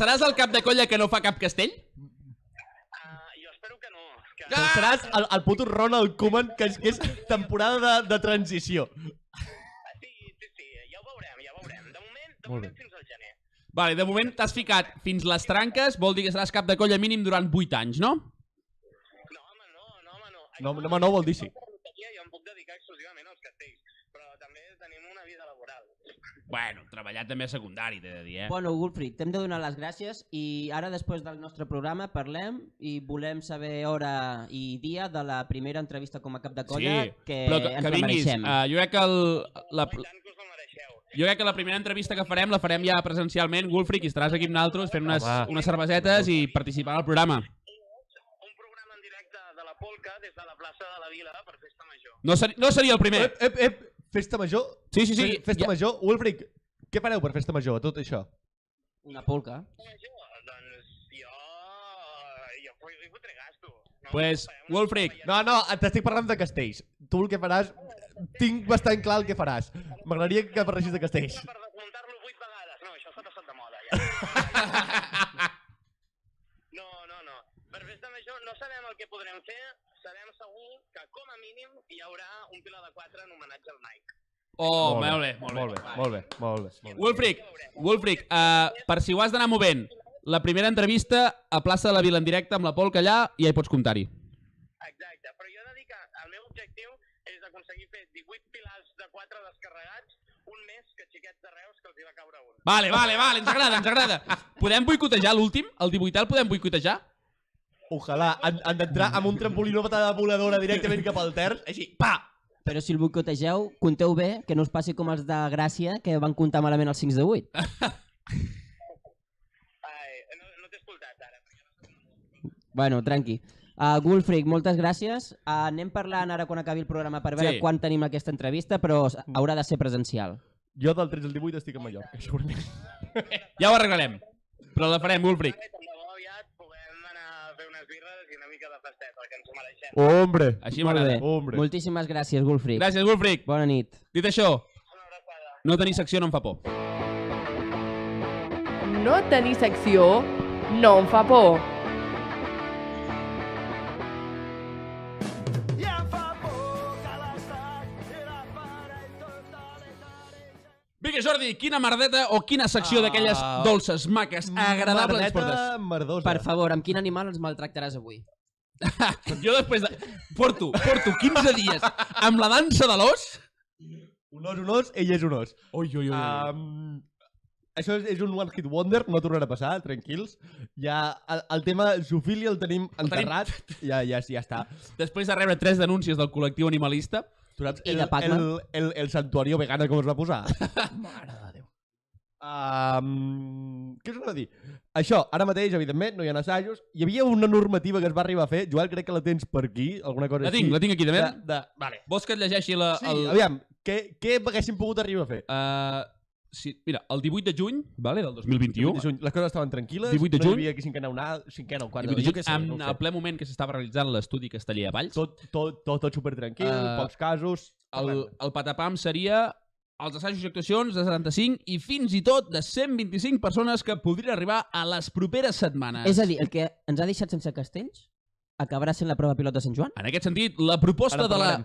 S1: Seràs el cap de colla que no fa cap castell?
S4: Uh, jo espero que no. Que...
S3: Doncs seràs el, el puto Ronald Koeman, que és, que és temporada de, de transició.
S4: Sí, sí, sí, ja ho veurem, ja ho veurem. De moment, de
S3: Molt
S4: moment fins al gener.
S1: Vale, de moment t'has ficat fins les tranques, vol dir que seràs cap de colla mínim durant 8 anys, no?
S4: No, home, no, no, home, no.
S3: No, no, home, no vol dir sí.
S4: Jo em puc dedicar exclusivament als castells, però també tenim una vida laboral.
S1: Bueno, treballar també a secundari, t'he de dir, eh?
S2: Bueno, Gulfric, t'hem de donar les gràcies i ara, després del nostre programa, parlem i volem saber hora i dia de la primera entrevista com a cap de colla que,
S1: però que,
S2: ens
S1: que
S2: la
S1: vinguis.
S2: mereixem.
S1: Uh, jo crec que el, la,
S4: I tant que us la mereixeu.
S1: Jo crec que la primera entrevista que farem la farem ja presencialment, Wolfric, i estaràs aquí amb nosaltres fent unes,
S3: Home.
S1: unes cervesetes i participant al programa.
S4: Un programa en directe de la Polca des de la plaça de la Vila per Festa Major.
S1: No, ser, no seria el primer.
S3: Ep, ep, ep, festa major?
S1: Sí, sí, sí.
S3: Fe- Festa
S1: Ja,
S3: major? Wolfric, què fareu per festa major, a tot això?
S2: Una polca.
S4: Festa Major? Doncs jo... Jo fui- hi fotré gasto. No?
S1: Pues,
S4: Farem una
S1: Wolfric,
S4: cosa
S3: No, no, t'estic parlant de castells. Tu el que faràs... Tinc bastant clar el que faràs. M'agradaria que parlessis de castells.
S4: Per desmuntar-lo vuit vegades. No, això s'ha passat de moda, ja. no, no, no. Per festa major no sabem el que podrem fer, sabem segur que com a mínim hi haurà un pilar de quatre en homenatge al Nike.
S1: Oh, molt bé, molt bé.
S3: Molt bé, molt bé, molt bé. Molt bé.
S1: Wolfric, Wolfric, uh, per si ho has d'anar movent, la primera entrevista a plaça de la Vila en directe amb la Polca allà i ja hi pots comptar-hi.
S4: Exacte, però jo he de dir que el meu objectiu és aconseguir fer 18 pilars de quatre descarregats un mes que xiquets de Reus que els hi va caure un.
S1: Vale, vale, vale, ens agrada, ens agrada. Podem boicotejar l'últim? El 18 el podem boicotejar?
S3: Ojalà han, han d'entrar amb un trampolí una patada voladora directament cap al terç, així, pa!
S2: Però si el boicotegeu, compteu bé que no us passi com els de Gràcia, que van comptar malament els 5 de 8.
S4: Ai, no, no t'he escoltat ara. perquè no sé com ho dic.
S2: Bueno, tranqui. Uh, Gulfric, moltes gràcies. Uh, anem parlant ara quan acabi el programa per
S1: Sí.
S2: veure
S1: Mm.
S2: sí. quan tenim aquesta entrevista, però s- haurà de ser presencial.
S3: Jo del 13 al 18 estic a Mallorca, segurament.
S1: Ja ho arreglarem. Però la farem, Wolfric.
S4: Tant de bo aviat puguem anar a fer unes birres i una mica de festeta, que ens ho mereixem.
S3: Hombre!
S1: Així
S2: Molt
S1: m'agrada.
S2: bé.
S3: Hombre.
S2: Moltíssimes gràcies, Gulfric.
S1: Gràcies, Wolfric.
S2: Bona nit.
S1: Dit això,
S4: Una abraçada.
S1: no tenir secció no em fa por.
S5: No tenir secció no em fa por.
S1: Vinga, Jordi, quina merdeta o quina secció
S3: Ah.
S1: d'aquelles dolces, maques, agradables ens portes?
S3: Merdeta merdosa.
S2: Per favor, amb quin animal ens maltractaràs avui?
S1: Jo després de... Porto, porto 15 dies amb la dansa de l'os.
S3: Un os, un os, ell és un os.
S1: Ui, ui, ui.
S3: Um, Això és, és un one hit wonder, no tornarà a passar, tranquils. Ja el, el tema zoofília el tenim enterrat, ja, ja, ja està.
S1: Després de rebre tres denúncies del col·lectiu animalista,
S3: Tu saps
S2: I
S3: el,
S2: de Pac-Man?
S3: el, el, el santuario vegana com es va posar? Mare de Déu. Um, què us anava a dir? Això, ara mateix, evidentment, no hi ha assajos. Hi havia una normativa que es va arribar a fer. Joel, crec que la tens per aquí, alguna cosa
S1: la tinc, la tinc aquí també.
S3: De, de, vale.
S1: Vols que et llegeixi la...
S3: Sí,
S1: el...
S3: aviam, què, què haguéssim pogut arribar a fer?
S1: Eh, sí, mira, el 18 de juny vale, del 2021,
S3: 18 de juny. Les coses estaven tranquil·les,
S1: 18 de
S3: no
S1: juny.
S3: hi havia aquí cinquena onada, cinquena o quarta,
S1: 18 de
S3: jo
S1: juny
S3: què sé,
S1: en
S3: no ho
S1: el
S3: sé.
S1: ple moment que s'estava realitzant l'estudi casteller a Valls,
S3: Tot, tot, tot, tot super tranquil,
S1: Eh,
S3: uh, pocs casos...
S1: el, el patapam seria els assajos i actuacions de 75 i fins i tot de 125 persones que podrien arribar a les properes
S3: Ah.
S1: setmanes.
S2: És a dir, el que ens ha deixat sense castells acabarà sent la prova pilot de Sant Joan?
S1: En aquest sentit, la proposta
S3: Ara
S1: de la...
S3: parlarem.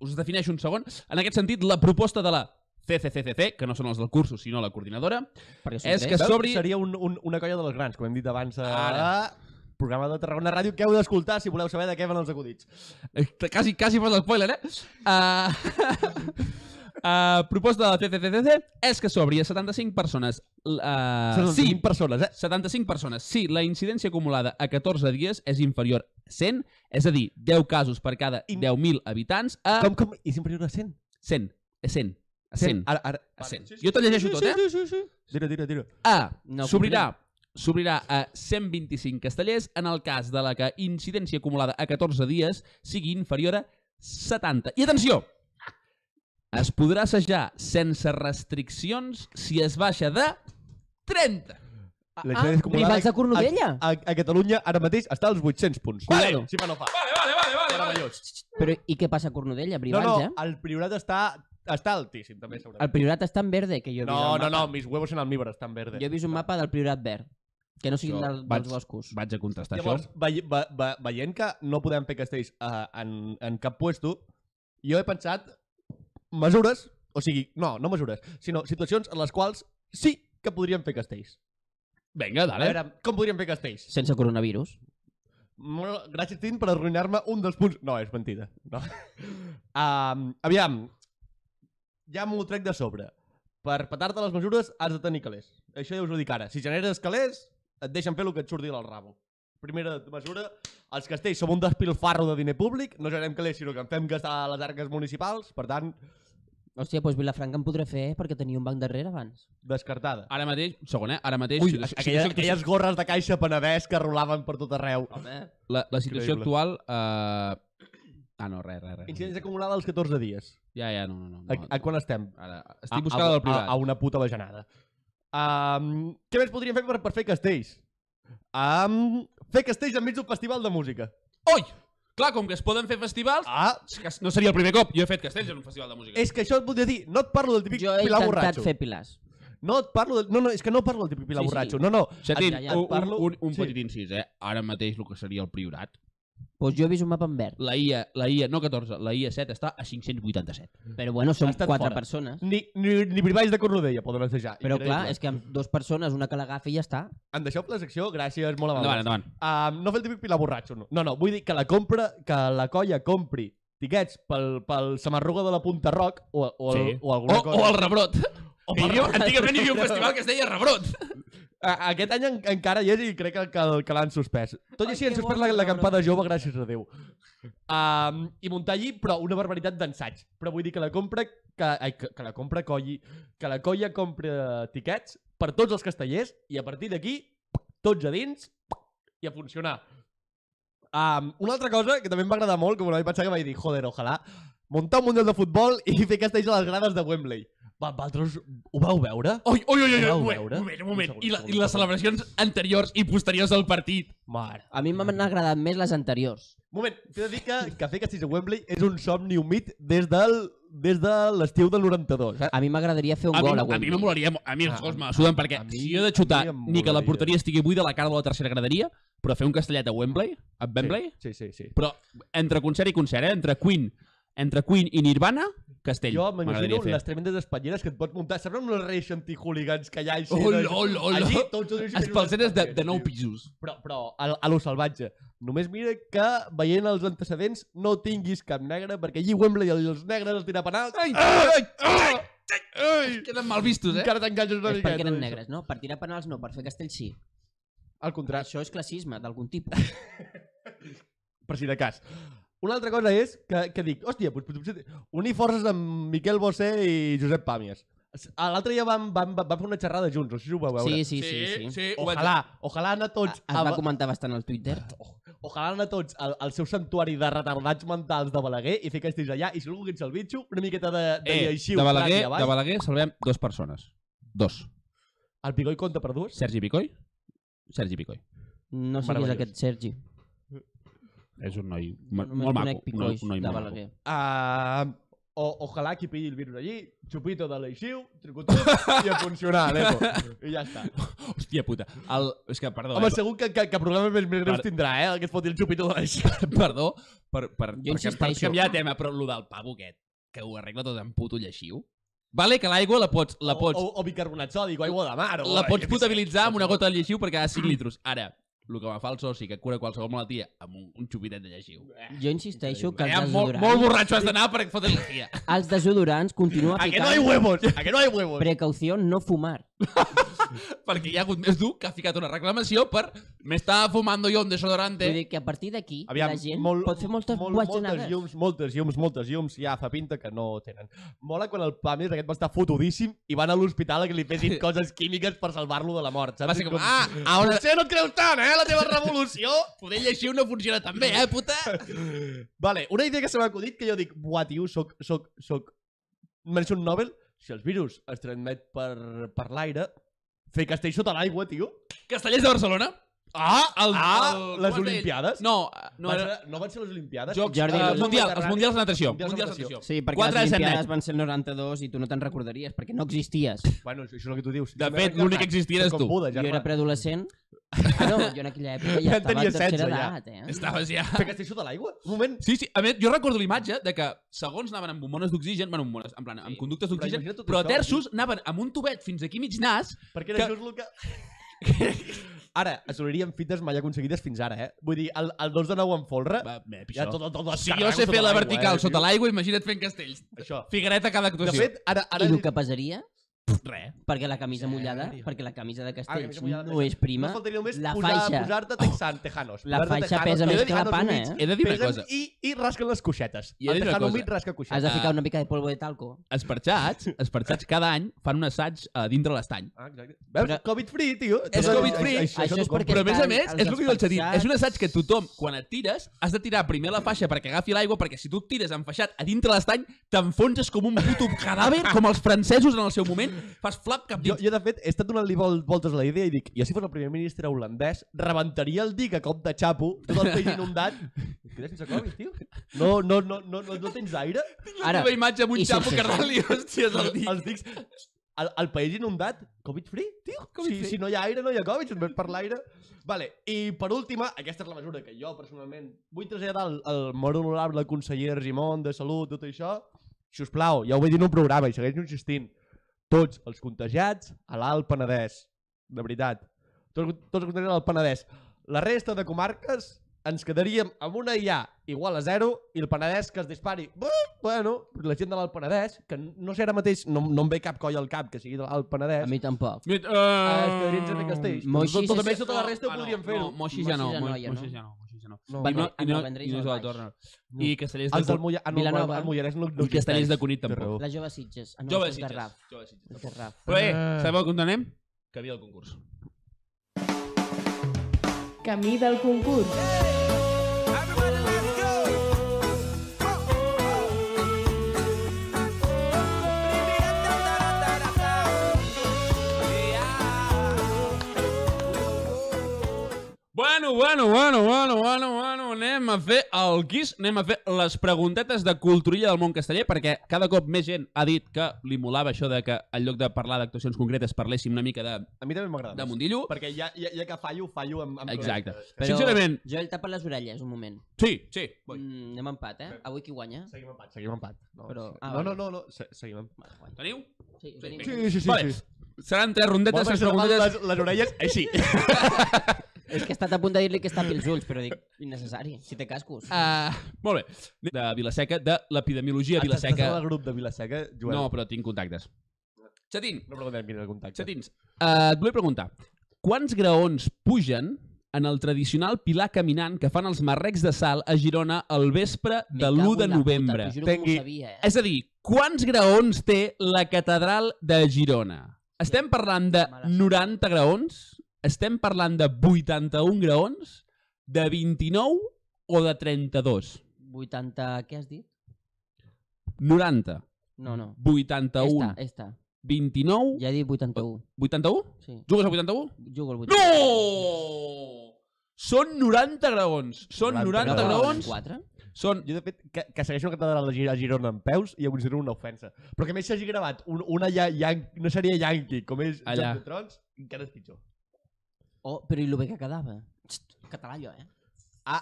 S1: Us defineixo un segon. En aquest sentit, la proposta de la CCCCC, que no són els del cursus, sinó la coordinadora,
S2: Perquè són
S1: és
S2: tres.
S1: que
S3: Veus?
S1: s'obri...
S3: Seria un, un, una colla de les grans, com hem dit abans a...
S1: Ara.
S3: programa de Tarragona Ràdio que heu d'escoltar si voleu saber de què van els acudits.
S1: Eh, Quasi, quasi fos l'espoiler, eh? Uh... Uh, proposta de la CCCCC és que s'obri a 75 persones. Uh,
S3: Són
S1: sí,
S3: 20 persones, eh?
S1: 75 persones. Si la incidència acumulada a 14 dies és inferior a 100, és a dir, 10 casos per cada
S3: In-
S1: 10.000 habitants, a
S3: Com, com? I sempre hi haurà 100?
S1: 100. A 100. A 100.
S3: Ara, ara.
S1: A 100.
S3: Sí, sí,
S1: Jo te'l llegeixo
S3: sí,
S1: tot,
S3: sí,
S1: eh?
S3: Sí, sí, sí. Tira, tira, tira.
S1: A.
S2: No,
S1: S'obrirà s'obrirà a 125 castellers en el cas de la que incidència acumulada a 14 dies sigui inferior a 70. I atenció! Es podrà assajar sense restriccions si es baixa de 30.
S3: La gent és acumulada
S2: rivals Ah, de Cornudella.
S3: A, a, a Catalunya ara mateix està als 800 punts.
S1: Vale.
S3: Cuidado. Si fa no fa.
S1: Vale, vale, vale.
S3: Meravellós.
S2: Però i què passa a Cornudella?
S3: No,
S2: Brivals,
S3: no,
S2: eh?
S3: el priorat està, està altíssim, també, segurament.
S2: El Priorat està en verde, que jo he vist
S3: No,
S2: al
S3: no,
S2: mapa.
S3: no, mis huevos en almíbar estan verdes.
S2: Jo he vist un mapa del Priorat verd, que no sigui
S1: Jo
S2: del,
S1: vaig-
S2: dels boscos.
S1: Vaig a contestar
S3: Llavors,
S1: això.
S3: ve, ve, ve, veient que no podem fer castells uh, en, en cap puesto, jo he pensat mesures, o sigui, no, no mesures, sinó situacions en les quals sí que podríem fer castells.
S1: Vinga,
S3: A
S1: dale.
S3: veure, com podríem fer castells?
S2: Sense coronavirus.
S3: Molt Gràcies, Tint, per arruïnar-me un dels punts. No, és mentida. No. Um, aviam, ja m'ho trec de sobre. Per petar-te les mesures has de tenir calés. Això ja us ho dic ara. Si generes calés, et deixen fer el que et surti del rabo. Primera mesura, els castells som un despilfarro de diner públic, no generem calés, sinó que en fem gastar a les arques municipals, per tant,
S2: Hòstia, doncs Vilafranca en podré fer perquè tenia un banc darrere abans.
S3: descartada.
S1: Ara mateix, segon, eh? Ara mateix...
S3: Ui,
S1: situació-
S3: aquelles,
S1: situació-
S3: aquelles gorres de caixa penedès que rolaven per tot arreu.
S1: La, la situació
S3: Increïble.
S1: actual... Eh... Ah, no, res, res, res.
S3: Incidència acumulada als 14 dies.
S1: Ja, ja, no, no. no,
S3: A,
S1: no.
S3: a quan Ah, estem?
S1: Ara, estic buscant el del privat.
S3: A, a una puta bajanada. Um, què més podríem fer per, per fer castells? Um, fer castells enmig d'un festival de música.
S1: Oi! Clar, com que es poden fer festivals...
S3: Ah,
S1: és que No seria el primer cop. Jo he fet castells en un festival de música.
S3: és que això et volia dir, no et parlo del típic
S2: Jo he
S3: pilar
S2: intentat
S3: borratxo.
S2: fer pilars.
S3: No et parlo del... No, no, és que no parlo del típic pilar
S2: Sí, sí.
S3: borratxo. No, no.
S1: Xatín,
S2: Ja, ja,
S1: un,
S3: parlo-
S1: un, un
S3: sí.
S1: petit incís, eh? Ara mateix el que seria el priorat.
S2: Doncs jo he vist un mapa en verd.
S1: La IA, la IA, no 14, la IA 7 està a 587.
S2: Però bueno, som
S3: Ha estat
S2: quatre
S3: fora.
S2: persones.
S3: Ni, ni, ni privalls de Cornudella poden assajar.
S2: Però
S3: Increïble.
S2: clar, és que amb dues persones, una que l'agafi i ja està.
S3: En deixeu la secció? Gràcies, molt amable.
S1: Endavant, endavant.
S3: Um, no fer el típic pilar borratxo, no. No, no, vull dir que la compra, que la colla compri tiquets pel, pel Samarruga de la Punta Roc o, o,
S1: Sí.
S3: el, o
S1: O,
S3: alguna cosa.
S1: o el rebrot.
S3: O
S1: Hi
S3: per
S1: havia, antigament hi havia un festival que es deia rebrot.
S3: A- Aquest any en, encara hi és i crec que, que, que l'han suspès. Tot i
S2: Ai,
S3: així han
S2: que
S3: suspès
S2: bo,
S3: la,
S2: que
S3: la
S2: bo,
S3: campada jove, gràcies a Déu. Um, I muntar allí, però una barbaritat d'ensaig. Però vull dir que la compra... Que, ai, que, que la compra colli... Que la colla compra tiquets per tots els castellers i a partir d'aquí, tots a dins i a funcionar. Um, una altra cosa que també em va agradar molt, que m'ho vaig pensar que vaig dir, joder, ojalà, muntar un mundial de futbol i fer castells a les grades de Wembley. Va, vosaltres ho vau veure?
S1: Oi, oi, oi, oi,
S3: Ho vau
S1: un moment,
S3: veure?
S1: un moment, un moment.
S3: Un
S1: I, la, I
S3: segon, un
S1: les
S3: segon.
S1: celebracions anteriors i posteriors al partit.
S3: Mare.
S2: A mi m'han agradat més les anteriors.
S3: Moment, t'he de dir que, que fer castells a Wembley és un somni humit des del des de l'estiu del 92.
S1: Ah,
S3: Eh?
S2: A mi m'agradaria fer
S1: A
S2: un
S1: mi,
S2: gol
S1: a
S2: a
S1: mi
S2: Wembley.
S1: me molaria... mo- A mi els
S3: Ah,
S1: gols me la suden perquè
S3: a mi-
S1: si jo he de
S3: a
S1: xutar
S3: mi em
S1: ni que la
S3: molaria.
S1: porteria estigui buida a la cara de la tercera graderia, però fer un castellet a Wembley, a Wembley,
S3: Sí, sí, sí. sí.
S1: Però entre concert i concert, eh? Entre Queen, entre Queen i Nirvana, Castell.
S3: Jo m'imagino
S1: M'agradaria fer.
S3: les tremendes espatlleres que et pots muntar. Saps amb les reis antihuligans que hi ha així?
S1: Hola,
S3: de-
S1: hola, hola.
S3: Allí tots els
S1: Espalceres de, de 9 pisos.
S3: Però, però a, a lo salvatge. Només mira que, veient els antecedents, no tinguis cap negre, perquè allí Wembley els negres els tira penals.
S1: Ai,
S3: Ah!
S1: ai, ai,
S3: Ai!
S1: Queden mal vistos, eh?
S3: Encara t'enganxes una
S2: És
S3: miqueta.
S2: perquè eren
S3: d'això.
S2: negres, no? Per tirar penals no, per fer castell sí.
S3: Al contrari.
S2: Això és classisme, d'algun tipus.
S3: per si de cas. Una altra cosa és que, que dic, hòstia, doncs, potser unir forces amb Miquel Bosé i Josep Pàmies. S- a L'altre dia vam, vam, vam fer una xerrada junts, no sé si ho vau veure.
S2: Sí, sí, sí. sí, sí.
S1: ho vaig-
S3: Ojalà, ojalà anar
S2: A,
S3: tots...
S2: es
S3: a-
S2: va comentar bastant al Twitter.
S3: Ojalà anar tots al, al seu santuari de retardats mentals de Balaguer i fer castells allà i si algú que ets el bitxo, una miqueta de, de
S1: Eh,
S3: lleixiu.
S1: de Balaguer,
S3: clar, i avall.
S1: de Balaguer salvem dues persones. Dos.
S3: El Pigoi compta per dues?
S1: Sergi Picoy. Sergi Picoy.
S2: No sé qui és
S3: Meravellós.
S2: aquest Sergi.
S1: És un noi
S2: Jo
S1: ma-
S2: només
S1: molt
S2: conec
S1: maco. Un noi,
S2: Picoix,
S1: un noi
S2: de
S1: molt maco.
S2: Balaguer.
S3: Uh, o, ojalà qui pilli el virus allí, xupito de lleixiu, tricotut i a funcionar, l'epo. I ja està.
S1: Hòstia puta. El... És que, perdó,
S3: Home,
S1: eh,
S3: segur que, que, que problemes més, més greus
S1: Per-
S3: tindrà, eh? El que es foti el xupito de lleixiu.
S1: perdó per, per,
S2: Jo
S1: per, per, per
S2: insisteixo.
S1: canviar de tema, però lo del pavo aquest, que ho arregla tot en puto lleixiu. Vale que l'aigua la pots, la pots,
S3: O, o, o bicarbonat sòdic, o aigua de mar. O,
S1: la pots
S3: jo què
S1: potabilitzar amb una gota de lleixiu per cada 5
S3: Mm.
S1: litros. Ara, el que va fa el soci que cura qualsevol malaltia amb un, un xupitet de lleixiu.
S2: Jo insisteixo Eh, que
S1: Eh,
S2: els
S1: molt,
S2: desodorants,
S1: molt borratxo has d'anar per fotre lleixiu.
S2: els desodorants continua
S3: sé. A que no hay
S2: ficant
S3: huevos, a que no hay huevos.
S2: precaució no fumar.
S1: perquè hi ha hagut més dur que ha ficat una reclamació per me estaba fumando yo un desodorante.
S2: Vull dir que a partir d'aquí
S3: Aviam,
S2: la gent pot fer moltes
S3: molt, moltes
S2: guatxanades.
S3: llums, moltes llums, moltes llums, ja fa pinta que no tenen. Mola quan el Pàmies aquest va estar fotudíssim i van a l'hospital a que li fessin coses químiques per salvar-lo de la mort, saps?
S1: Va ser com,
S3: Com-
S1: ah, ahora...
S3: Potser no et creus tant, eh, la teva revolució.
S1: Poder lleixiu no funciona tan bé, eh, puta?
S3: vale, una idea que se m'ha acudit que jo dic, buah, tio, soc, soc, soc... Mereixo un Nobel? Si els virus es transmet per, per l'aire, fer castell sota l'aigua, tio.
S1: Castellers de Barcelona? Ah, el,
S3: Ah,
S1: el-
S3: les
S1: com es deia?
S3: Olimpiades?
S1: No, no
S3: Van
S1: era...
S3: ser- no van ser les Olimpiades?
S1: Jocs,
S2: Jordi,
S1: eh,
S2: no.
S1: mundial, els mundials de natació.
S3: Mundials
S1: Mundials
S3: de
S1: de
S3: natació.
S1: natació.
S2: Sí, perquè
S1: Quatre de
S2: les
S1: set
S2: Olimpiades
S1: net.
S2: van ser el 92 i tu no te'n recordaries, perquè no existies.
S3: Bueno, això és el que tu dius.
S1: De fet, l'únic que existia eres
S3: Com
S1: tu.
S3: Buda,
S2: jo era
S3: germà.
S2: preadolescent. Ah, no, jo en aquella època
S3: Ja
S2: ja estava
S3: tenia
S2: a tercera
S3: 16 ja.
S2: edat, eh?
S1: Estaves ja...
S3: Fer castell sota l'aigua? Un moment.
S1: Sí, sí, a més, jo recordo l'imatge de que segons anaven amb bombones d'oxigen, bueno, amb bombones, en plan, amb conductes
S3: però
S1: d'oxigen,
S3: imagina't tot
S1: però
S3: això,
S1: terços anaven amb un tubet fins aquí mig nas,
S3: Perquè era
S1: Que-
S3: just el que... Ara, assoliríem fites mai aconseguides fins ara, eh? Vull dir, el, el 2 de 9 en folre...
S1: va, bé,
S3: ja
S1: pitjor.
S3: tot, tot, tot
S1: Si jo sé fer la vertical sota l'aigua, imagina't fent castells.
S3: Això.
S1: Figuereta cada
S3: eh, De
S1: actuació.
S3: fet, ara...
S2: I
S3: ara
S2: el que passaria,
S1: res.
S2: perquè la camisa
S3: Sí,
S2: mullada,
S3: sí.
S2: perquè la camisa de
S3: Ah, que
S2: castells
S3: m'he mullat la
S2: no és prima,
S3: No faltaria només
S2: la
S3: posar,
S2: faixa-
S3: posar-te texan, tejanos.
S2: La
S3: Posar-te
S2: faixa
S3: tejanos,
S2: pesa més
S3: pesen
S2: que la
S3: tejanos
S2: pana,
S3: humits,
S2: eh?
S1: He de dir una
S3: pesen
S1: cosa.
S3: I, I rasquen les coixetes.
S1: I he de
S3: El
S1: dir una
S3: tejano
S1: cosa.
S3: humit rasca
S2: has
S3: coixetes.
S2: de
S1: Ah.
S2: ficar una mica de polvo de talco.
S1: Els perxats, els perxats cada any fan un assaig a dintre l'estany.
S3: Ah, exacte. Veus?
S2: Però-
S3: Covid-free, tio.
S1: És Covid-free.
S2: Això és
S3: t'ho compro.
S2: perquè-
S1: Però a més a
S2: Estan
S1: més,
S2: els
S1: és el que diu el Xatín,
S2: despenjats.
S1: és un assaig que tothom, quan et tires, has de tirar primer la faixa perquè agafi l'aigua, perquè si tu et tires enfaixat a dintre l'estany, t'enfonses com un puto cadàver, com els francesos en el seu moment, fas flap cap
S3: Jo,
S1: dins.
S3: jo, de fet, he estat donant-li vol- voltes a la idea i dic, jo si fos el primer ministre holandès, rebentaria el dic a cop de xapo, tot el país inundat. Quedes sense Covid, tio? No, no, no, no, no, no tens aire?
S1: La
S2: Ara,
S1: teva imatge amb un
S2: i si
S1: xapo
S2: els-
S1: que rali, hòsties, el dit.
S3: Els dics... El, el país inundat, Covid-free, tio?
S1: Covid-free.
S3: si, si no hi ha aire, no hi ha Covid, només per l'aire. Vale, i per última, aquesta és la mesura que jo personalment vull traslladar al, al molt honorable conseller Argimon de Salut, tot això. Si us plau, ja ho vaig dir en un programa i segueixo insistint, tots els contagiats a l'Alt Penedès, de veritat. Tots, tots els contagiats a l'Alt Penedès. La resta de comarques ens quedaríem amb una IA igual a zero i el Penedès que es dispari. Buh, Bueno, la gent de l'Alt Penedès, que no sé ara mateix, no, no em ve cap coll al cap que sigui de l'Alt Penedès.
S2: a mi tampoc.
S1: Uh,
S3: Ah, es quedarien sense
S1: mm,
S3: castells.
S2: Moixis
S3: Tot, tot,
S2: és-
S3: més, tota la resta ho podríem fer.
S1: Ah, No, Moixi ja no,
S2: Moixis ja no, ja no.
S1: Moixi ja no. Moixi ja no.
S3: No.
S1: I no, i no,
S2: Vendrell
S1: i no
S2: és
S1: és
S2: al
S1: a la
S2: baix.
S1: torre. I Castellers
S3: Els
S1: de,
S3: del Molla... Ah, no,
S2: Vilanova.
S3: El Mollanès no, no
S1: i Castellers de Cunit
S3: Té
S1: tampoc.
S3: raó.
S2: La jove Sitges. Ah, no,
S1: Jove
S2: això és de
S1: Sitges.
S2: Raf.
S1: Jove Sitges.
S2: És de Raf.
S1: Però bé,
S3: Ah.
S1: sabeu com anem? Que havia el concurs.
S5: Camí del concurs.
S1: Bueno, bueno, bueno, bueno, bueno, bueno, anem a fer el quiz, anem a fer les preguntetes de culturilla del món casteller, perquè cada cop més gent ha dit que li molava això de que en lloc de parlar d'actuacions concretes parléssim una mica de,
S3: A mi també m'agrada.
S1: de
S3: més.
S1: Mundillo.
S3: Perquè ja, ja, ja que fallo, fallo amb... amb
S1: Exacte.
S3: correctes.
S2: Però-
S1: Eh, Sincerament,
S2: Joel, tapa les orelles, un moment.
S1: sí, sí. Mm.
S2: Mm, anem a empat, eh? Avui qui guanya?
S3: Seguim empat, seguim empat. No,
S2: Però- ah,
S3: no, no,
S2: vale.
S3: no, no, se- seguim empat.
S1: Teniu?
S2: Sí,
S1: Sí,
S2: ho tenim.
S1: vinga.
S3: sí,
S1: vale. Seran tres rondetes,
S3: Vols
S1: tres
S3: fer
S1: preguntetes...
S3: les, les orelles així.
S2: És que he estat a punt de dir-li que està pels ulls, però dic, innecessari, si té cascos.
S1: Uh, molt bé. De Vilaseca, de l'epidemiologia
S3: Estàs- Estàs
S1: Vilaseca.
S3: en el grup de Vilaseca, Joel?
S1: No, però tinc contactes. Chatín,
S3: No preguntem quin era el contacte.
S1: Chatins, eh, et volia preguntar. Quants graons pugen en el tradicional pilar caminant que fan els marrecs de sal a Girona el vespre
S2: Me
S1: de 1
S2: cago en
S1: de
S2: la puta,
S1: novembre?
S2: t'ho juro
S3: Tengui-
S2: que no ho sabia, eh?
S1: És a dir, quants graons té la catedral de Girona? Estem parlant de
S2: Mala sort.
S1: 90 graons? Estem parlant de 81 graons? De 29 o de 32?
S2: 80... Què has dit?
S1: 90,
S2: No, no.
S1: 81,
S2: Esta, esta.
S1: 29...
S2: Ja he dit 81.
S1: 81?
S2: Sí.
S1: Jugues a 81?
S2: Jugo al 81.
S1: No! Són 90 graons. Són 90,
S3: 90
S2: No,
S1: graons.
S2: 4?
S1: Són...
S3: Jo, de fet, que, que segueixo la catedral de Gir- a Girona en peus i ho considero una ofensa. Però que a més s'hagi gravat un, una ja, yan, no seria Yankee, com és
S1: Allà.
S3: Allà. Joc de Trons, encara és pitjor.
S2: Oh, però i el bé que quedava? Xt, català, jo, eh?
S3: Ah,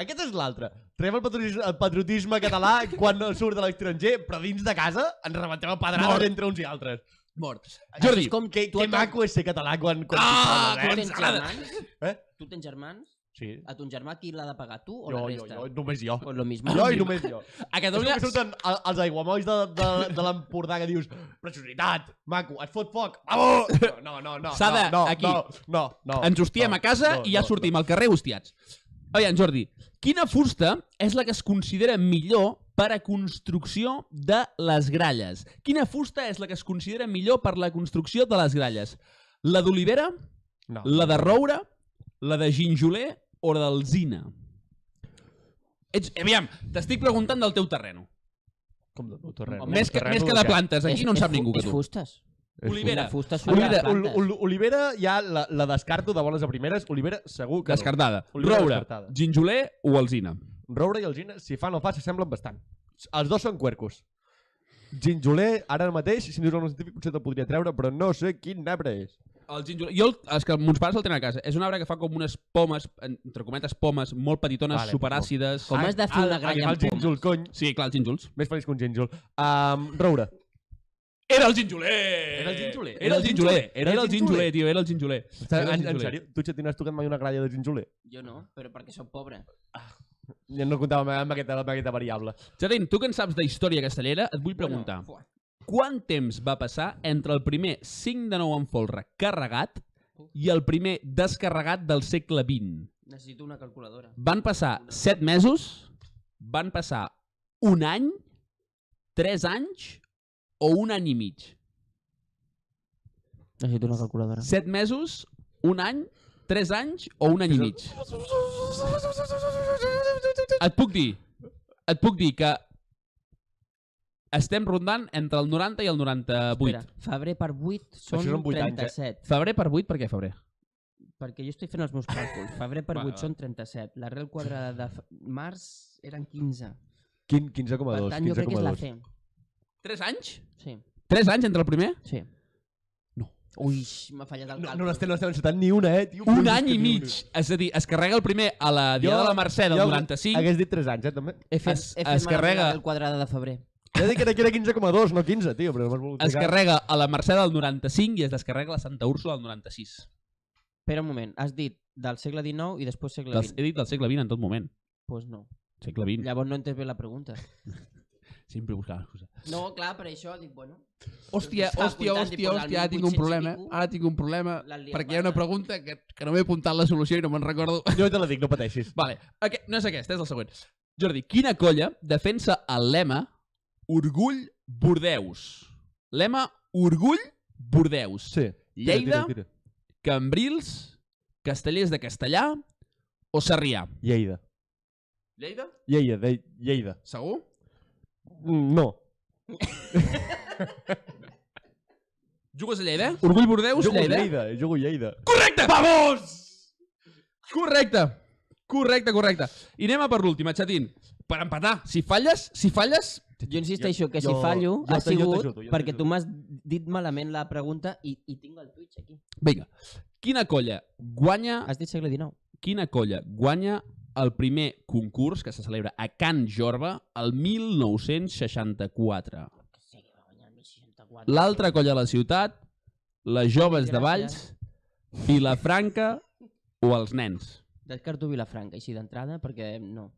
S3: aquest és l'altre. Traiem el patriotisme, el patriotisme català quan no surt de l'estranger, però dins de casa ens rebentem a pedrades
S1: Mort.
S3: entre uns i altres.
S1: Morts.
S2: Això
S1: Jordi,
S2: és com
S3: Que,
S2: tu
S3: que
S2: et-
S3: maco és ser català quan... quan
S1: Ah,
S3: pistoles,
S2: Tu
S1: com
S2: tens
S1: ens agrada.
S2: germans?
S3: Eh?
S2: Tu tens germans?
S3: Sí.
S2: A ton germà qui l'ha de pagar? Tu o
S3: Jo,
S2: la
S3: jo,
S2: resta?
S3: jo, només jo.
S2: Pues lo mismo.
S3: Jo i només jo.
S1: a
S3: És
S1: Catalunya...
S3: com que surten el- els aiguamolls de, de, de l'Empordà que dius preciositat, maco, et fot foc, bravo! No, no, no, no,
S1: Sada,
S3: no,
S1: aquí.
S3: no, no, no.
S1: Ens hostiem
S3: no,
S1: a casa
S3: Oh, no,
S1: i ja
S3: no,
S1: sortim al carrer hostiats. Aviam, Jordi, quina fusta és la que es considera millor per a construcció de les gralles? Quina fusta és la que es considera millor per la construcció de les gralles? La d'olivera,
S3: No.
S1: la de roure, la de ginjoler o la d'alzina? Ets, aviam, t'estic preguntant del teu terreno.
S3: Com de terreno.
S2: Home,
S1: Més que, més que de plantes, aquí no en sap ningú que
S2: És
S1: tu.
S2: fustes.
S1: Olivera.
S2: La fusta surt
S1: Olivera,
S2: de les plantes.
S3: Olivera ja la, la descarto de bones a primeres. Olivera segur que no.
S1: Descartada.
S3: Olivera
S1: Roure,
S3: descartada.
S1: ginjoler o alzina?
S3: Roure i Alzina, si fa no fa, s'assemblen bastant. Els dos són cuercos. Ginjoler, ara mateix, si em dius el nom científic, potser te'l podria treure, però no sé quin arbre és.
S1: El ginjoler... Jo, el- és que mons pares el tenen a casa. És un arbre que fa com unes pomes, entre cometes pomes, molt petitones,
S3: Vale,
S1: vale, superàcides...
S2: Com
S1: Ah,
S2: has de fer una
S3: Ah,
S2: gralla
S3: agafar
S2: amb
S3: el
S2: pomes?
S3: gínjol, cony.
S1: Sí, clar, els ginjols.
S3: Més feliç que un gínjol. Um, roure.
S1: Era el ginjoler!
S3: Era el ginjoler.
S1: Era el ginjoler. Era el ginjoler, tio, era el ginjoler.
S3: Està,
S1: Era el
S3: en, en
S1: ginjoler.
S3: sèrio? Tu, Xatín, has tocat mai una gralla de ginjoler?
S2: Jo no, però perquè sóc pobre.
S3: Ja no comptava amb, amb, aquesta, amb aquesta variable.
S1: Jardín, tu que en saps de història castellera, et vull preguntar.
S2: Bueno, fuà.
S1: Quant temps va passar entre el primer 5 de 9 en folre carregat i el primer descarregat del segle XX?
S2: necessito una calculadora.
S1: Van passar 7 mesos, van passar un any, 3 anys o un any i mig.
S2: Necessito una calculadora.
S1: 7 mesos, un any, 3 anys o un any i mig. Et puc dir, et puc dir que estem rondant entre el 90 i el 98.
S2: Espera, febrer per 8 són,
S3: són vuit anys, eh?
S2: 37.
S1: Febrer per 8, per què febrer?
S2: Perquè jo estic fent els meus càlculs. Febrer per
S1: Va,
S2: 8
S1: va.
S2: són 37. L'arrel quadrada de fe- març eren 15.
S3: Quin,
S2: Per
S3: 15,2.
S2: tant, jo crec que és la
S3: 15,2.
S2: C.
S1: 3 anys?
S2: Sí,
S1: 3 anys entre el primer?
S2: sí.
S1: No.
S2: Ui, m'ha fallat el
S3: No,
S2: càlcul.
S3: no n'estem no estem encetant ni una, eh, tio.
S1: Un
S3: Collons,
S1: any
S3: que
S1: i
S3: ni
S1: mig. És a dir, es carrega el primer a la Diada
S3: Jo-
S1: de la Mercè del
S3: jo
S1: 95.
S3: Hagués dit 3 anys, eh, també.
S2: He fet,
S1: Es-
S2: he fet
S1: es carrega-
S2: el quadrada de febrer.
S3: Ja dic que era, que era 15,2, no 15, tio, però m'has volgut
S1: es
S3: ficar.
S1: carrega a la Mercè del 95 i es descarrega a la Santa Úrsula del 96.
S2: Espera un moment, has dit del segle XIX i després segle
S1: Dels,
S2: XX.
S1: he dit del segle XX en tot moment.
S2: Doncs pues no.
S1: Segle XX.
S2: Llavors no entens bé la pregunta.
S1: Sempre buscava excusa.
S2: No, clar, per això dic, bueno...
S1: Hòstia,
S2: Estava
S1: hòstia,
S2: apuntant i
S1: hòstia,
S2: posant
S1: hòstia, ara tinc
S2: 1800
S1: un
S2: i
S1: problema.
S2: pico.
S1: Ara tinc un problema
S2: L'han liat
S1: perquè hi ha una
S2: bastant.
S1: pregunta que, que no m'he apuntat la solució i no me'n recordo.
S3: Jo te la dic, no pateixis.
S1: Vale, aquest, no és aquest, és el següent. Jordi, quina colla defensa el lema Orgull Bordeus? Lema Orgull Bordeus.
S3: Sí. Tira,
S1: Lleida,
S3: tira, tira.
S1: Cambrils, Castellers de Castellà o Sarrià?
S3: Lleida.
S1: Lleida?
S3: Lleida, de, Lleida.
S1: Segur?
S3: Mm, No.
S1: Jugues a Lleida? Orgull Bordeus,
S3: Jugo
S1: Lleida?
S3: Lleida, jugo Lleida.
S1: Correcte! Vamos! Correcte. Correcte, correcte. I anem a per l'última, Chatín. Per empatar. Si falles, si falles...
S2: Jo insisteixo que si
S3: jo-
S2: fallo
S3: jo
S2: ha
S3: te- jo
S2: sigut
S3: t'ajudo, jo
S2: perquè
S3: t'ajudo.
S2: tu m'has dit malament la pregunta i, i tinc el Twitch aquí.
S1: Vinga. Quina colla guanya...
S2: Has dit segle XIX.
S1: Quina colla guanya el primer concurs que se celebra a Can Jorba el 1964?
S2: Que sé que va guanyar el 1064.
S1: L'altra colla de la ciutat, les joves de Valls, Vilafranca o els nens?
S2: Descarto Vilafranca, així d'entrada, perquè no.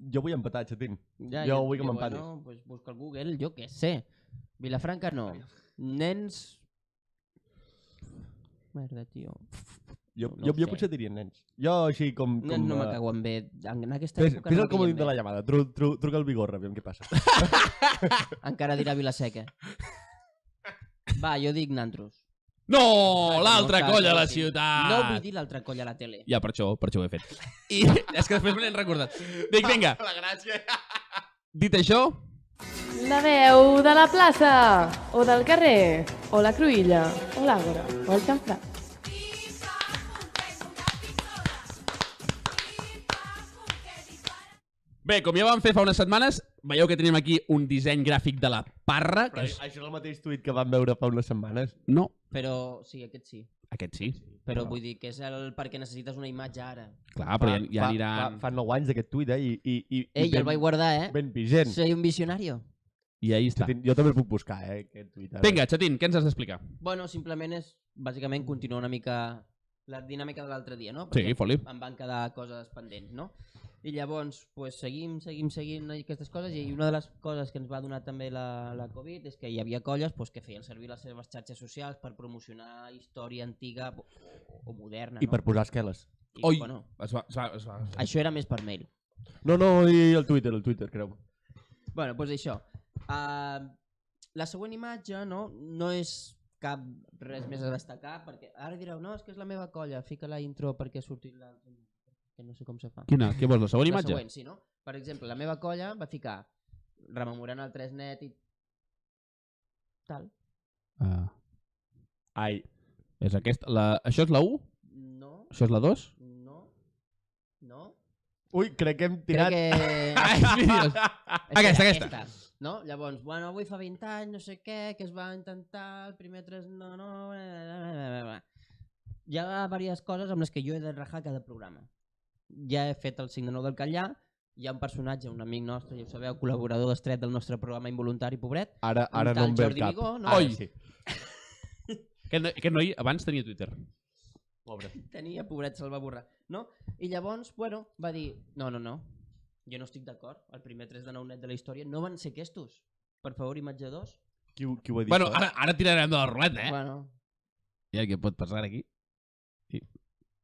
S3: Jo vull empatar, xatín.
S2: Ja,
S3: Jo
S2: et
S3: vull que
S2: diu,
S3: m'empati.
S2: Bueno, pues busca el Google, jo què sé. Vilafranca no. Nens... Merda, tio.
S3: Jo,
S2: No
S3: jo,
S2: ho
S3: jo
S2: sé.
S3: potser diria nens. Jo així com... com
S2: Nens no me
S3: eh,
S2: caguen bé. En aquesta
S3: Fes,
S2: època
S3: fes
S2: no
S3: el
S2: em
S3: comodín
S2: caien
S3: de la
S2: bé.
S3: llamada. Tru, tru, truca el Vigorra, aviam què passa.
S2: Encara dirà Vilaseca. Va, jo dic nantros.
S1: No,
S2: no
S1: Oh, l'altra
S2: cal,
S1: colla de la
S2: sí.
S1: ciutat!
S2: No vull dir l'altre coll a la tele.
S1: Ja, per això, per això ho he fet. I és que després me n'he recordat. Dic, vinga,
S3: La gràcia.
S1: dit això,
S5: La veu de la plaça, o del carrer, o la cruïlla, o l'àgora, o el xamfrà.
S1: bé, com ja vam fer fa unes setmanes, veieu que tenim aquí un disseny gràfic de la parra,
S3: Però
S1: que és...
S3: això és el mateix tuit que vam veure fa unes setmanes.
S1: No,
S2: Però sí, aquest sí.
S1: aquest sí.
S2: Però vull dir que és el perquè necessites una imatge ara.
S1: Clar, però ja, ja
S3: Fa,
S1: aniran...
S3: fa 9 anys d'aquest tuit, eh? I, i, i,
S2: Ei,
S3: i
S2: ja el vaig guardar, eh?
S3: ben vigent.
S2: Soy un visionario.
S1: I ahí està.
S3: Xatín, Jo també el puc buscar, eh? Aquest tuit. ara.
S1: Vinga, Chatín, què ens has d'explicar?
S2: Bueno, simplement és, bàsicament, continuar una mica la dinàmica de l'altre dia, no?
S1: Sí, foli.
S2: em van quedar coses pendents, no? I llavors, pues, seguim, seguim, seguim aquestes coses i una de les coses que ens va donar també la, la Covid és que hi havia colles pues, que feien servir les seves xarxes socials per promocionar història antiga o, o moderna.
S3: I
S2: no?
S3: per posar esqueles.
S2: I,
S1: Oi.
S2: Bueno,
S1: Es va, es va, es va.
S2: això era més per mail.
S3: No, no, i el Twitter, el Twitter, creu.
S2: Bueno, doncs això. Uh, la següent imatge no, no és cap res més a destacar, perquè ara direu, no, és que és la meva colla, fica la intro perquè ha sortit la... que no sé com se fa.
S1: Quina? Què vols, la següent
S2: la
S1: imatge?
S2: següent, sí, no? Per exemple, la meva colla va ficar rememorant el 3 net i tal.
S1: Ah,
S3: Ai,
S1: és aquesta. La... Això és la 1?
S2: No,
S1: Això és la 2?
S2: no, no.
S3: Ui, crec que hem tirat...
S2: Crec que...
S1: Ai, vídeos. Aquesta, aquesta.
S2: No? Llavors, bueno, avui fa 20 anys, no sé què, que es va intentar el primer 3... No, no... bla, bla, bla, bla, bla, bla. Hi ha diverses coses amb les que jo he de rajar cada programa. Ja he fet el 5 de 9 del Catllà, hi ha un personatge, un amic nostre, ja ho sabeu, col·laborador estret del nostre programa involuntari, pobret,
S3: Ara,
S2: Un
S3: ara no
S2: tal
S3: em ve el
S2: Jordi
S3: cap.
S2: Migó, no?
S3: Ara
S1: Oi.
S3: sí.
S1: Aquest, no, aquest noi abans tenia Twitter.
S3: Pobre.
S2: tenia, pobret, se'l va borrar. No? I llavors, bueno, va dir, no, no, no, jo no estic d'acord, el primer 3 de 9 net de la història no van ser aquestos. Per favor, imatge 2.
S3: Qui, ho- qui ho ha dit? eh?
S1: Bueno,
S3: això?
S1: ara, ara tirarem de la ruleta, eh?
S2: Bueno,
S1: Ja, què pot passar aquí?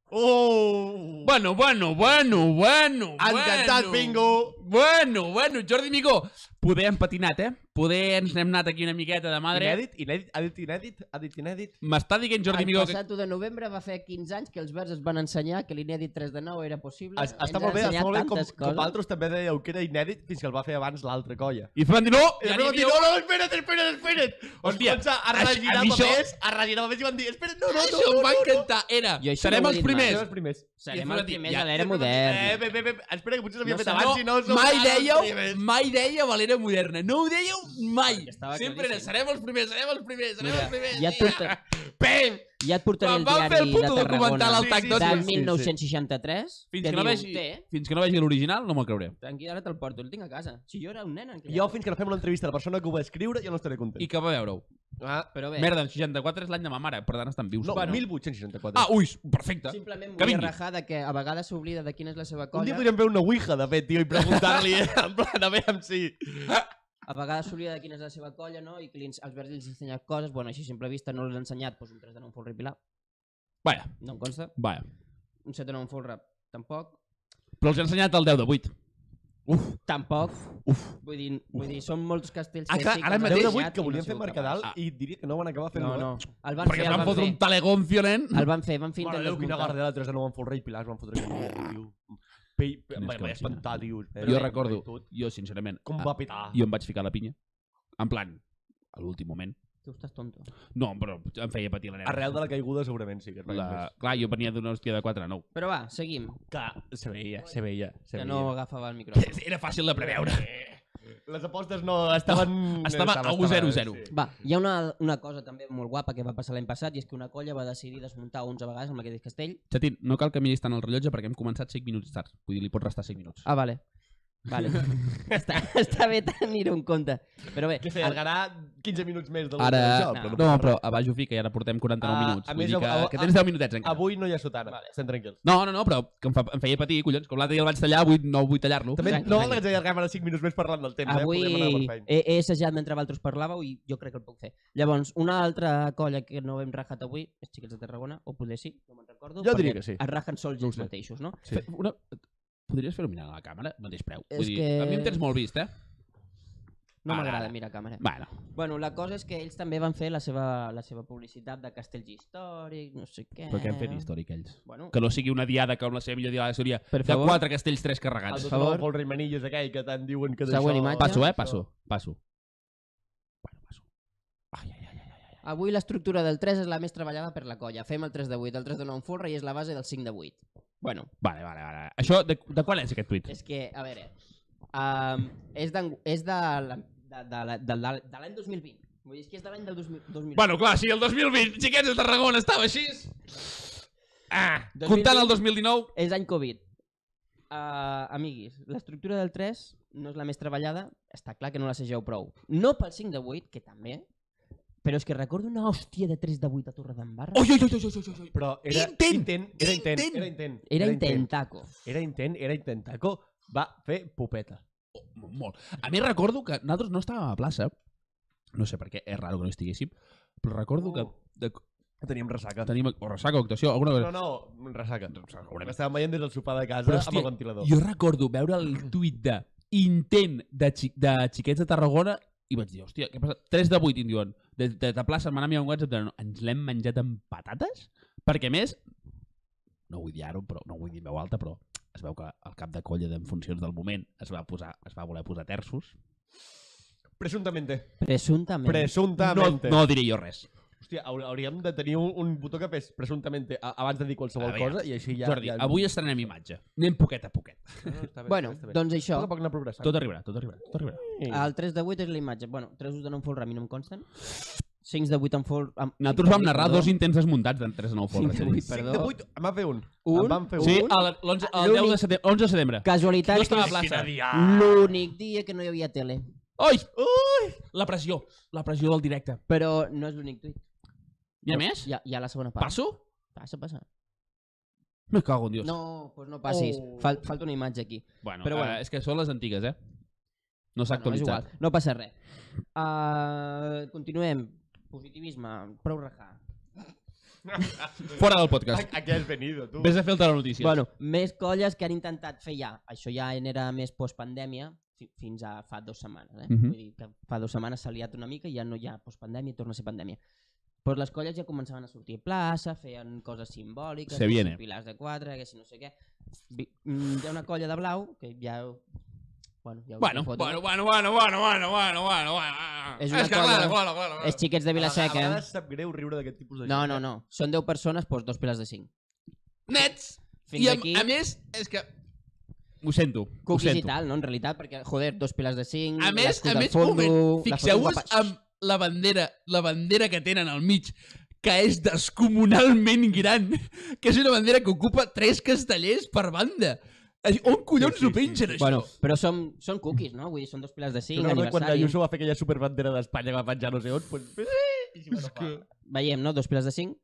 S3: Oh!
S1: Bueno, bueno, bueno, bueno,
S3: Encantat,
S1: bueno.
S3: bingo!
S1: Bueno, bueno, Jordi Migó. Poder hem patinat, eh? Poder ens n'hem anat aquí una miqueta de madre.
S3: Inèdit, inèdit, ha dit inèdit, ha dit inèdit.
S1: M'està dient Jordi
S2: el
S1: Migó que...
S2: passat 1 de novembre va fer 15 anys que els verds es van ensenyar que l'inèdit 3 de 9 era possible.
S3: Es, està molt bé, està molt bé com, com altres també dèieu que era inèdit fins que el va fer abans l'altra colla.
S1: I van dir, no,
S3: I
S1: ja
S3: després
S1: n'hi
S3: van dir,
S1: havia...
S3: no, no, espera't, espera't, espera't!
S1: Hòstia,
S3: Hòstia, es comença a
S1: això- a
S3: regirar
S1: mi això-
S3: papers, a regirar papers i van dir, espera't, no, no, no,
S1: Això
S3: no,
S1: em va
S3: no, no.
S1: encantar. Era,
S2: Jo això
S1: serem
S2: no ho he
S1: els
S2: dit mai.
S1: primers.
S3: Serem els primers.
S2: Serem
S1: Ja,
S2: els primers
S1: ja,
S2: de l'era
S1: ja,
S3: Eh,
S2: moderna.
S3: bé, bé, bé, bé, espera, que potser s'havia fet
S1: Serà-
S3: abans, si no... som
S1: mai
S3: ara els
S1: dèieu,
S3: primers.
S1: mai dèieu a l'era moderna. No ho dèieu mai.
S2: Estava
S1: Sempre era,
S2: claríssim.
S1: serem els primers, serem els primers, serem
S2: Mira,
S1: els primers.
S2: Ja et, porta,
S1: Pam!
S2: ja et portaré
S1: Quan
S2: el
S1: van fer el
S2: diari de
S1: puto documental
S2: Tarragona
S1: al TAC
S3: Sí, sí,
S1: dos,
S2: de
S3: sí, sí.
S2: 1963
S1: Fins
S2: que
S1: que no
S2: diu,
S1: vegi-
S2: té,
S1: Fins que no vegi l'original, no me'l creuré.
S2: tranquil, ara te'l porto, el tinc a casa. Si jo era un nen en aquella
S3: Jo,
S2: època.
S3: fins que no fem una entrevista a la persona que ho va escriure, jo no estaré content.
S1: I que va veure-ho.
S3: Ah,
S2: Però bé,
S1: Merda, el 64 és l'any de ma mare, per tant estan vius.
S3: no,
S1: Bueno.
S3: 1864.
S1: Ah, ui, perfecte.
S2: simplement
S1: Que
S2: volia
S1: vingui.
S2: rajar de que a vegades s'oblida de quina és la seva
S3: Un dia
S2: colla,
S3: podríem fer una ouija, de fet, tio, i preguntar-li, eh, en plan, a veure si...
S2: a vegades s'oblida de quina és la seva colla, no? I que li ens- els verds els ensenyen coses, bueno, així a simple vista no els ha ensenyat, doncs un 3 de 9 folre i pilar,
S1: Vaja,
S2: no em consta,
S1: vaja.
S2: un 7 de 9 folre tampoc,
S1: Però els he ensenyat el 10 de 8.
S3: Uf,
S2: Tampoc.
S3: Uf.
S2: Vull dir, vull dir són molts castells
S1: Ah,
S2: que
S1: clar,
S2: sí que
S1: ara
S2: han
S1: mateix-
S2: ensenyat
S3: 10 de 8,
S2: i
S3: que
S2: no han
S3: volien fer
S2: sigut
S3: Mercadal,
S1: Ah.
S3: i diria que no van acabar fent-ho.
S2: capaços. No,
S3: eh?
S2: no. El van
S1: Perquè
S2: fer,
S1: es
S2: el
S1: van
S2: van
S1: fotre
S2: fer.
S1: un talegón violent.
S2: El van fer, van fer
S3: Mare
S2: intentar
S3: Déu, quina
S2: escoltar.
S3: guardada, 3 de 9 en Folre i Pilar es van fotre aquell dia, tio. Pell,
S1: Quina
S3: em
S1: escalofina.
S3: vaig espantar, tio.
S1: Jo recordo, jo sincerament,
S3: Com
S1: ah,
S3: va petar.
S1: jo em vaig ficar la pinya. En plan, a l'últim moment.
S2: Tu estàs tonto.
S1: No, però em feia patir la nena.
S3: Arrel de la caiguda segurament sí que es va
S1: La...
S3: la...
S1: Clar, jo venia d'una hòstia de 4 a 9.
S2: Però va, seguim.
S3: Clar, se veia, se veia, se
S2: Que
S3: veia. Eh.
S2: no agafava el micròfon.
S1: Era fàcil de preveure.
S3: Les apostes no estaven...
S1: Oh, estava a
S3: estava-
S1: 1-0-0.
S3: sí.
S2: Va, hi ha una, una cosa també molt guapa que va passar l'any passat i és que una colla va decidir desmuntar 11 vegades amb aquest castell.
S1: Chatín, no cal que miris tant el rellotge perquè hem començat 5 minuts tard. Vull dir, li pots restar 5 minuts.
S2: Ah, vale. Vale. està, està bé tenir-ho en compte. Però bé,
S3: Que s'allargarà 15 minuts més del
S1: Ara...
S3: del
S1: No,
S3: joc,
S1: no,
S3: passa
S1: però
S3: res.
S1: a baix ho fica i ara portem 49
S3: Ah,
S1: minuts.
S3: a
S1: Vull
S3: més,
S1: dir que,
S3: avui-
S1: que tens 10 minutets encara.
S3: Avui no hi ha sotana, vale. estem tranquils.
S1: No, no, no, però que em, fa, em feia patir, collons. Com l'altre dia el vaig tallar, avui no vull tallar-lo.
S3: També
S2: Exacte,
S3: no
S2: exacte.
S3: val que ens allarguem ara 5 minuts més parlant del temps,
S2: avui
S3: eh? Podríem anar per feina.
S2: he, he assajat mentre vosaltres parlàveu i jo crec que el puc fer. Llavors, una altra colla que no hem rajat avui, els xiquets de Tarragona, o potser sí, no me'n recordo.
S3: Jo diria
S2: perquè
S3: que sí.
S2: Es rajen sols
S1: No ho
S2: ells
S1: sé.
S2: mateixos, no?
S1: Fe- Una... Podries fer-ho mirant a la càmera, mateix preu.
S2: És
S1: Vull dir,
S2: que-
S1: a mi em tens molt vist, eh?
S2: No
S1: Ara,
S2: m'agrada
S1: ara.
S2: mirar a càmera.
S1: Bueno,
S2: Bueno, la cosa és que ells també van fer la seva, la seva publicitat de castells històrics, no sé què...
S1: però què han fet històric ells?
S2: Bueno,
S1: Que no sigui una diada com la seva millor diada seria
S2: Per
S1: de
S2: favor.
S1: quatre castells, tres carregats.
S3: El
S2: Per favor.
S3: favor. El Reimanillos aquell que tant diuen que d'això...
S2: Següent imatge.
S1: Passo, eh? Passo, passo. Bueno, passo. Ai, ai, ai, ai, ai. ai.
S2: avui l'estructura del 3 és la més treballada per la colla. Fem el 3 de 8, el 3 de 9 en folre i és la base del 5 de 8. Bueno,
S1: Vale, vale, vale. Això, de, de quan és aquest tuit?
S2: és que, a veure, um, és, d'en- és de, la- de, de, la- de, la- de l'any 2020. Vull dir, és que és de l'any del 2000, 2020.
S1: Bueno, clar, sí, el 2020, xiquets de Tarragona, estava així. Ah,
S2: 2020.
S1: comptant el 2019...
S2: És any Covid. Uh, amiguis, l'estructura del 3 no és la més treballada, està clar que no la segeu prou. No pel 5 de 8, que també, però és que recordo una hòstia de 3 de 8 a Torredembarra.
S1: Oi, oi, oi, oi, oi, oi, oi.
S3: Però era
S1: Intent!
S3: intent, era intent,
S1: Intent!
S3: era intent.
S2: Era intentaco.
S3: Era intent, era intentaco. Va fer pupeta.
S1: Oh, molt. A mi recordo que nosaltres no estàvem a la plaça, no sé per què, és raro que no estiguéssim, però recordo que, de,
S3: Oh. Teníem ressaca.
S1: que tenim o ressaca o actuació, alguna cosa.
S3: No, no, ressaca.
S1: segurament.
S3: Doncs, Estàvem veient des del sopar de casa
S1: Però,
S3: amb
S1: hòstia,
S3: el ventilador.
S1: Jo recordo veure el tuit de intent de, xi de xiquets de Tarragona i vaig dir, hòstia, què passa? 3 de 8 em diuen. De, de, de plaça em van enviar un WhatsApp de, no, ens l'hem menjat amb patates? Perquè a més, no vull dir ara però no vull dir en veu alta, però es veu que el cap de colla d'en funcions del moment es va, posar, es va voler posar terços.
S3: Presumptamente.
S2: Presumptament.
S1: No,
S3: Presumptamente.
S1: no diré jo res.
S3: Hòstia, hau- hauríem de tenir un, un botó que fes presumptamente a- abans de dir qualsevol
S1: Aviam.
S3: cosa i així ja...
S1: Ja, Jordi,
S3: ja...
S1: ja... avui estrenem imatge. Anem poquet a poquet.
S3: No, no, està bé,
S2: Bueno,
S3: està bé, està bé.
S2: doncs
S3: A
S2: això.
S3: poc a poc anar progressant.
S1: Tot arribarà, tot arribarà, tot arribarà.
S2: El 3 de 8 és la imatge. Bueno, 3 us de 9 folre a mi no em consten. 5 de 8 en folre... Amb...
S1: Nosaltres vam narrar dos intents desmuntats d'en 3 a 9
S2: Cinc de vuit.
S1: folres.
S2: Perdó.
S3: 5 de 8, em va Ah, fer un.
S2: Un?
S3: Em van fer
S1: Sí,
S3: un.
S1: el, l'11 el 10 de setembre. 11 de setembre.
S2: Casualitat
S1: Jo estava a
S2: que
S1: plaça.
S2: l'únic dia que no hi havia tele.
S1: Oi! Ui! La pressió. La pressió del directe.
S2: Però no és l'únic tuit.
S1: N'hi ha més?
S2: Hi ha, hi ha la segona part.
S1: Passo?
S2: Passa, passa.
S1: Me cago en Dios.
S2: No, doncs no passis.
S1: Oh.
S2: Fal, falta una imatge aquí.
S1: Bueno, però
S2: Però bueno.
S1: bueno. és que són les antigues, eh? No s'ha
S2: Bueno, és igual,
S1: actualitzat.
S2: no passa res. Uh, continuem. Positivisme, prou rajar.
S1: Fora del podcast.
S3: Aquí has venido, tu.
S1: Ves a fer el telenotícies.
S2: Bueno, més colles que han intentat fer ja. Això ja era més postpandèmia, fi- fins a fa dues setmanes. Eh?
S1: Mhm.
S2: Vull dir que fa dues setmanes s'ha liat una mica i ja no hi ha postpandèmia, torna a ser pandèmia. Però les colles ja començaven a sortir a plaça, feien coses simbòliques,
S1: Se
S2: que si
S1: viene.
S2: pilars de quatre, que si no sé què. Vi- mm, Hi ha una colla de blau, que ja... Bueno, ja us
S1: Bueno,
S2: la foto.
S1: bueno, bueno, bueno, bueno, bueno, bueno, bueno, bueno.
S2: És una
S1: és que,
S2: colla-
S1: clar, clar, clar,
S2: Els xiquets de
S3: A
S2: Vilaseca. eh?
S3: vegades sap greu riure d'aquest tipus de
S2: No, no, no. Són 10 persones, doncs dos piles de 5.
S1: Nets!
S2: Fins
S1: I a,
S2: aquí,
S1: a més, és que... Ho sento, ho
S2: cookies i
S1: sento.
S2: tal, no? En realitat, perquè, joder, dos piles de 5,
S1: A més,
S2: l'escut
S1: a
S2: al
S1: més, un
S2: fondo...
S1: moment,
S2: la
S1: fixeu-vos
S2: foto guapa.
S1: amb la bandera, la bandera que tenen al mig, que és descomunalment gran, que és una bandera que ocupa tres castellers per banda. És- On collons
S3: Sí, sí,
S1: ho pengen, això?
S2: Bueno, però són, són cookies, no? Vull dir, són dos piles de 5,
S3: Jo recordo quan
S2: aniversari...
S3: Ayuso va fer aquella superbandera d'Espanya que va penjar no sé on, doncs... Eh, i si va no fa.
S2: Veiem, no? Dos piles de 5.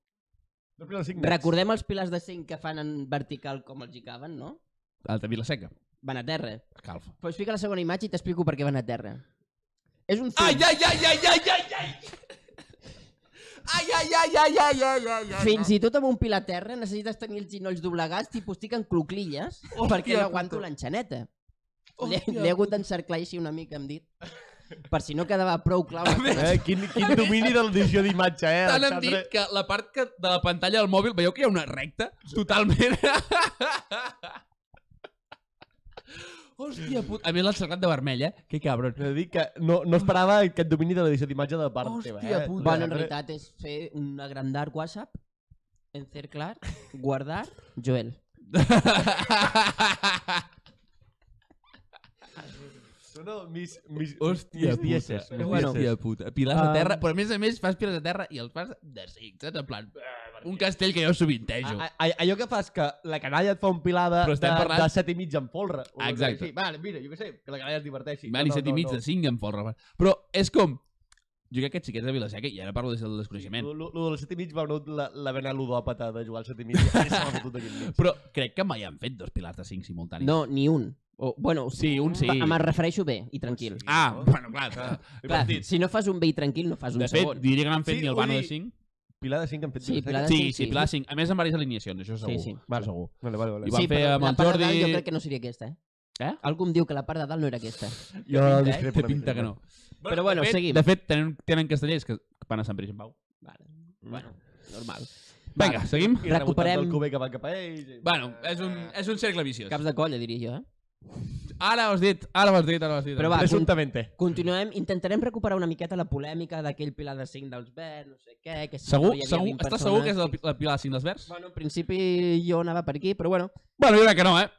S3: No, però cinc nets.
S2: Recordem els piles de 5 que fan en vertical com els hi caben, no?
S1: Alta Vilaseca.
S2: Van a terra.
S1: Calfa.
S2: Pues fica la segona imatge i t'explico per què van a terra. És un film
S1: Ai, ai, ai, ai, ai, ai, ai! Ai, ai, ai, ai, ai, ai, ai, ai.
S2: Fins i tot amb un pil a terra necessites tenir els ginolls doblegats, tipus estic en cloclilles,
S1: Hòstia
S2: perquè no aguanto
S1: puta.
S2: l'enxaneta. L'he
S1: Hòstia
S2: l'he hagut d'encerclar així una mica, hem dit. Per si no quedava prou clau. la cosa.
S3: Eh, quin, quin domini de l'edició d'imatge, eh,
S1: Tant hem
S3: Alexandre?
S1: dit que la part que de la pantalla del mòbil, veieu que hi ha una recta? Totalment. Hòstia puta. A més, l'han cercat de vermell, eh? Que cabron.
S3: He de dir que no, no esperava aquest domini de l'edició d'imatge de part
S1: Hòstia
S3: teva, eh?
S1: puta.
S2: Bueno, en realitat és fer un agrandar WhatsApp, encerclar, guardar, Joel.
S3: Són el mis, mis,
S1: Hòstia
S3: mis dieces.
S1: puta.
S3: Mis
S1: Hòstia
S3: dieces.
S1: puta. Pilars
S2: Ah.
S1: de terra. Però a més a més fas pilars de terra i els fas de cinc, saps? En plan... eh, per Un castell que jo sovintejo.
S3: A- a- Allò que fas que la canalla et fa un pilar de,
S1: Però
S3: de,
S1: estem parlant-
S3: de set i mig en folre. o una cosa
S1: Exacte.
S3: així. Vale, mira, jo què sé, que la canalla es diverteixi.
S1: Van i set i mig de cinc em fot Rafael. Però és com... Jo crec que aquests xiquets de Vilaseca, i ara parlo des del desconeixement,
S3: Lo, lo, lo del set i mig va venir la, la vena ludòpata de jugar al set i mig. I se l'ha fotut aquí al mig.
S1: però crec que mai han fet dos pilars de cinc simultanis.
S2: No, ni un. O, bueno,
S1: Sí, un sí.
S2: Em refereixo bé i tranquil.
S3: Sí.
S1: Ah, bueno, clar.
S3: Clar,
S2: Clar,
S3: divertit.
S2: si no fas un bé i tranquil, no fas un
S1: De fet,
S2: segon.
S1: diria que n'han fet
S3: Sí,
S1: ni el
S3: vull
S1: Bano de
S3: dir-
S1: 5.
S3: Pilar de cinc han fet
S2: Sí,
S3: divertit.
S2: Pilar de
S1: Sí,
S2: cinc,
S1: sí,
S2: sí.
S1: Pilar de 5. A més, amb diverses alineacions, això segur.
S2: Sí, sí.
S1: Vale. Segur.
S3: Vale, vale,
S1: I
S3: vale.
S1: va- van fer
S2: però
S1: amb
S2: la
S1: el
S2: part de dalt
S1: Jordi-
S2: jo crec que no seria aquesta, eh?
S1: Eh?
S2: Algú em diu que la part de dalt no era aquesta.
S3: Jo
S1: Té pinta, eh?
S3: discrepo
S1: Té
S3: una
S1: pinta
S3: mica.
S1: que no.
S2: Però bueno,
S1: de fet,
S2: seguim.
S1: De fet, tenen, tenen castellers que que van a Sant Pere i Sant Pau.
S2: Vale. Bueno, normal.
S1: Vinga, seguim.
S3: I recuperem...
S2: Recuperem-
S3: del Cuber que va cap a ells. i-
S1: Bueno, és un, és un cercle viciós.
S2: Caps de colla, diria jo, eh?
S1: Ara ho has dit, ara ho has dit, ara ho has dit.
S2: Però va,
S3: Presumptamente.
S2: Continuem, intentarem recuperar una miqueta la polèmica d'aquell pilar de 5 dels verds, no sé què... Que si
S1: Segur,
S2: no hi havia
S1: segur,
S2: 20
S1: estàs
S2: persones.
S1: segur que és el, el Pilar de Cinc dels Verds?
S2: Bueno, en principi jo anava per aquí, però bueno,
S1: Bueno, jo crec que no, eh?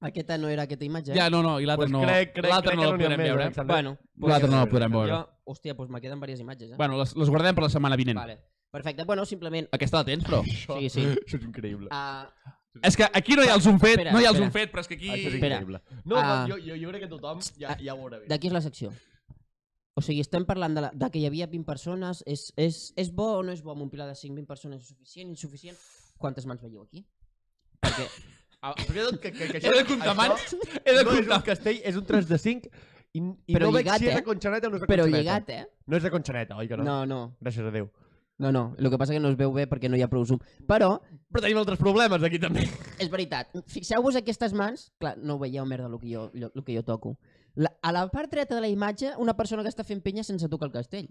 S2: aquesta no era aquesta imatge. eh?
S1: Ja, no, no, i l'altre
S3: Pues
S1: no.
S3: crec- crec-
S1: L'altre
S3: crec
S1: no
S3: que
S1: la
S3: no n'hi ha
S1: podrem
S3: més,
S1: veure.
S3: Alexandre.
S2: Bueno,
S1: Pues l'altre no la podrem veure.
S2: jo... Hòstia, doncs me queden diverses imatges, eh?
S1: Bueno, les, les guardem per la setmana vinent.
S2: Vale. Perfecte, bueno, simplement...
S1: Aquesta la tens, però.
S2: Sí, sí.
S3: Això és increïble.
S2: Uh,
S1: És que aquí no hi ha el zoom fet,
S2: Espera,
S1: no hi ha el
S2: espera.
S1: zoom fet, però és que aquí...
S3: Ah, Això és
S2: Espera.
S3: increïble. No,
S2: Ah.
S3: no, jo, jo, jo crec que tothom ja,
S2: Ah.
S3: ja ho veurà bé.
S2: de qui és la secció? O sigui, estem parlant de, la, de que hi havia 20 persones, és, és, és bo o no és bo amb un pilar de 5, 20 persones, és suficient, insuficient? Quantes mans veieu aquí? Perquè
S3: Ah, primer de tot, que, que, que
S1: He de comptar mans, he de
S3: no és
S1: comptar.
S3: un castell, és un 3 de 5 i, i
S2: Però
S3: no veig
S2: lligat,
S3: si és
S2: eh?
S3: de Conchaneta o no és de
S2: Però
S3: Conchaneta.
S2: lligat, eh?
S3: No és de Conchaneta, oi que no?
S2: No, no,
S3: Gràcies a Déu.
S2: no, no. El que passa que no es veu bé perquè no hi ha prou zoom. Però,
S3: Però tenim altres problemes aquí també.
S2: és veritat, fixeu-vos aquestes mans, clar, no veieu merda el que jo, lo, lo que jo toco. La, a la part dreta de la imatge, una persona que està fent penya sense tocar el castell.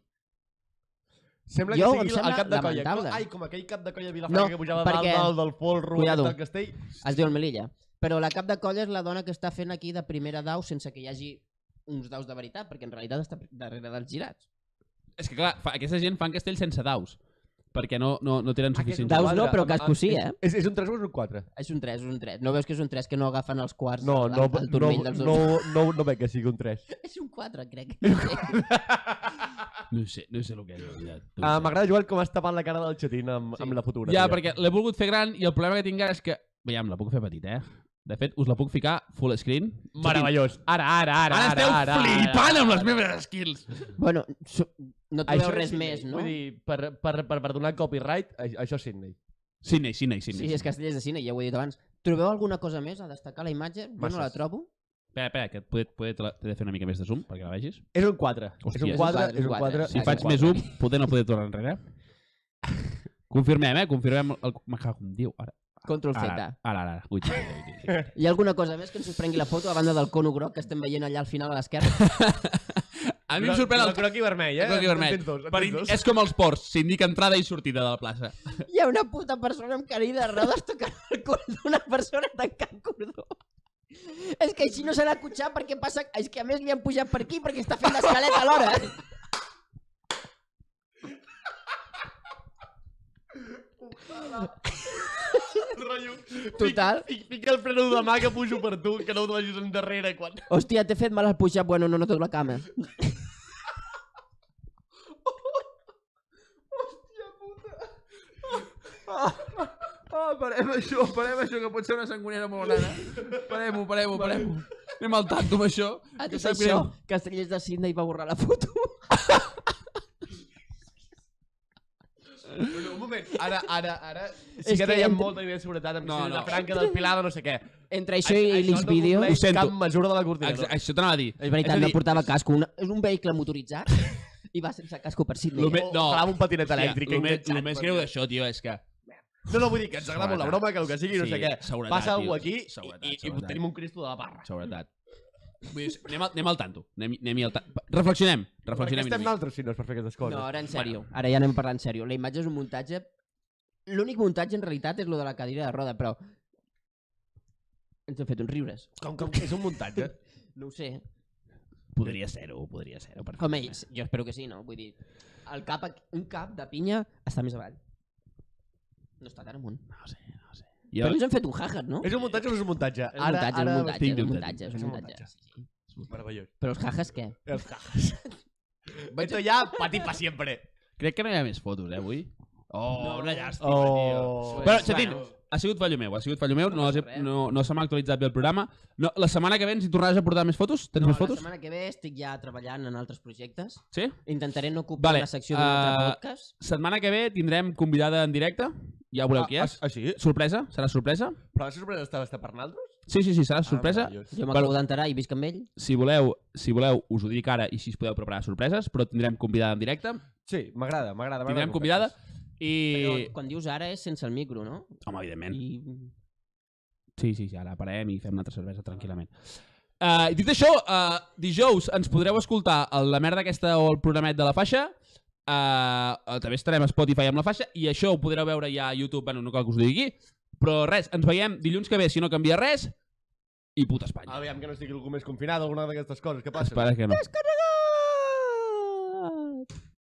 S3: Sembla
S2: Jo,
S3: que
S2: em
S3: sigui
S2: sembla
S3: el cap de colla.
S2: lamentable.
S3: Ai, com aquell cap de colla de Vilafranca
S2: No,
S3: que pujava
S2: perquè-
S3: dalt, dalt del folro
S2: Cuidado.
S3: del castell.
S2: Es diu el Melilla. Però la cap de colla és la dona que està fent aquí de primera dau sense que hi hagi uns daus de veritat, perquè en realitat està darrere dels girats.
S1: És que clar, fa, aquesta gent fan castells sense daus, perquè no, no, no
S3: Ah,
S1: tenen suficients
S2: daus
S1: daus.
S2: no, però casco sí, eh?
S3: És, és un 3 o és un 4?
S2: És un 3, és un 3. No veus que és un 3 que no agafen els quarts
S3: No,
S2: al,
S3: no,
S2: al, al
S3: no,
S2: turmell dels dos?
S3: no, no, no veig que sigui un 3.
S2: És un 4, crec.
S1: No sé, no sé el que és. de veritat, No
S3: Ah,
S1: ho sé.
S3: M'agrada, Joel, com has tapat la cara del xatín amb, amb la fotografia.
S1: Ja, perquè l'he volgut fer gran i el problema que tinc ara és que... Veiem, la puc fer petita, eh? De fet, us la puc ficar full screen.
S3: Meravellós. Ara, ara,
S1: Ara,
S3: ara.
S1: ara esteu
S3: ara, ara,
S1: flipant amb les meves skills!
S2: bueno, so, no
S3: Això
S2: trobeu
S3: és
S2: res
S3: Sydney.
S2: més, no?
S3: Vull dir, per, per, per, per donar copyright, a- això és Sydney.
S1: Sydney, Sydney,
S2: Sí,
S1: Sydney.
S2: és Castellers de Cine, ja ho he dit abans. Trobeu alguna cosa més a destacar a la imatge? Jo no la
S3: Masses.
S2: trobo.
S1: Espera, espera, que et poder, poder, te la- t'he de fer una mica més de zoom perquè la vegis.
S3: És un 4.
S1: Hòstia.
S3: és un 4, és un 4.
S1: Si
S2: Exacte.
S1: faig més zoom, poder no poder tornar enrere. Confirmem, eh? Confirmem el... Me cago, com diu? Ara,
S2: Control Z.
S1: ara, ara, ara. Ui, ui, ui, ui, ui.
S2: Hi ha alguna cosa més que ens sorprengui la foto a banda del cono groc que estem veient allà al final a l'esquerra?
S1: A mi em sorprèn el...
S3: croqui vermell, eh?
S1: El croqui vermell.
S3: En tens dos, en
S1: Per
S3: tens
S1: in...
S3: dos.
S1: És com els ports, s'indica entrada i sortida de la plaça.
S2: Hi ha una puta persona amb carilla de rodes tocant el cul d'una persona tancant cordó. És que així no s'ha d'acotxar perquè passa... És que a més li han pujat per aquí perquè està fent l'escaleta alhora.
S3: Rotllo,
S2: Total.
S3: Fic, fic, fica el freno de mà que pujo per tu, que no ho vagis endarrere quan...
S2: Hòstia, t'he fet mal al pujar. Bueno, no noto la cama.
S1: Oh, parem això, parem això, que pot ser una sangonera molt gran. eh? Parem-ho, parem-ho, parem-ho. Anem al tanto amb Ah, això.
S2: A
S1: que
S2: tot
S1: sap
S2: això,
S1: greu.
S2: Castellers de Sydney va borrar la foto.
S3: Però un moment, ara, ara, ara... Sí
S2: És
S3: que
S2: que
S3: dèiem
S2: entre-
S3: molta nivell de seguretat amb
S1: No,
S3: no, no. la
S1: no.
S3: franca del Pilar de no sé què.
S2: Entre això i l'Xvideo...
S1: Ho
S3: compleix
S1: sento.
S3: cap mesura de la
S1: Ex-
S3: coordinadora.
S1: Això t'anava a dir.
S2: És veritat,
S1: a
S2: no
S1: dir,
S2: portava casco. Una, és un vehicle motoritzat i va sense casco per Sydney.
S1: Lo me-
S2: eh?
S1: No.
S3: Calava un patinet elèctric.
S1: el, més,
S3: enganxat
S1: el més
S3: per
S1: greu
S3: allà.
S1: d'això, tio, és que...
S3: No, no, vull dir que ens agrada molt la
S1: Seguretat.
S3: broma, que el que sigui, no
S1: Sí,
S3: sé què.
S1: seguretat,
S3: Passa algú
S1: tio.
S3: aquí
S1: Seguretat,
S3: i, i, i
S1: seguretat.
S3: tenim un cristo de la barra.
S1: Seguretat. Vull dir, anem al, anem al tanto. Anem, anem al tanto. Reflexionem.
S3: Perquè
S1: Reflexionem.
S3: estem
S1: una mica.
S3: naltros si no és per fer aquestes
S2: no,
S3: coses.
S2: ara en sèrio. Bueno. Ara ja anem parlant en sèrio. La imatge és un muntatge... L'únic muntatge en realitat és lo de la cadira de roda, però... Ens hem fet uns riures.
S3: Com, com, és un muntatge.
S2: No ho sé.
S1: Podria ser-ho, podria ser-ho. perfectament.
S2: Home, jo espero que sí, no? Vull dir, el cap, aquí- un cap de pinya està més avall. No està tan amunt.
S1: No ho sé, no ho sé.
S2: Però
S1: Jo...
S2: ens hem fet un jaja't, no?
S3: és un muntatge o no és un muntatge?
S2: És un muntatge, és un muntatge,
S1: tinc
S2: és un
S1: dubtes.
S2: muntatge, és un muntatge. Sí, sí.
S3: Meravellós.
S2: Però els jajas què?
S3: Els cajas. Esto ya para ti para siempre.
S1: Crec que no hi ha més fotos, eh, avui. Oh,
S2: No.
S1: una llàstima, tio.
S3: Oh.
S1: Bueno, Xatín, ha sigut fallo meu, ha sigut fallo meu, no,
S2: No
S1: les
S2: passa
S1: he,
S2: res.
S1: no, no se m'ha actualitzat bé el programa. No, la setmana que ve ens hi tornaràs a portar més fotos? Tens
S2: no,
S1: més fotos?
S2: Doncs La setmana que ve estic ja treballant en altres projectes.
S1: Sí?
S2: Intentaré no ocupar
S1: Vale,
S2: vale. la secció d'un altre
S1: eh,
S2: podcast.
S1: Setmana que ve tindrem convidada en directe, ja veureu qui és.
S3: Ah, sí?
S1: Sorpresa, serà sorpresa?
S3: Però la sorpresa estava estar per naltros? Ah,
S1: Sí, sí,
S2: Ah,
S1: sí, serà sorpresa.
S2: Jo
S1: bueno.
S2: m'acabo d'enterar i visc amb ell.
S1: Si voleu, si voleu, us ho dic ara i així us podeu preparar sorpreses, però tindrem convidada en directe.
S3: Sí, m'agrada, m'agrada. m'agrada
S1: Tindrem
S3: com
S1: convidada
S3: penses.
S2: Però
S1: i...
S2: quan dius ara és sense el micro, no?
S1: Home, evidentment.
S2: I...
S1: Sí, sí, sí, ara parem i fem una altra cervesa tranquil·lament. Uh, dit això, uh, dijous ens podreu escoltar el, la merda aquesta o el programet de la faixa. Uh, també estarem a Spotify amb la faixa i això ho podreu veure ja a YouTube. Bueno, no cal que us ho digui. Però res, ens veiem dilluns que ve, si no canvia res. I puta Espanya.
S3: Aviam que no estigui algú més confinat, alguna d'aquestes coses que passen.
S1: Espera que no. Descarregar!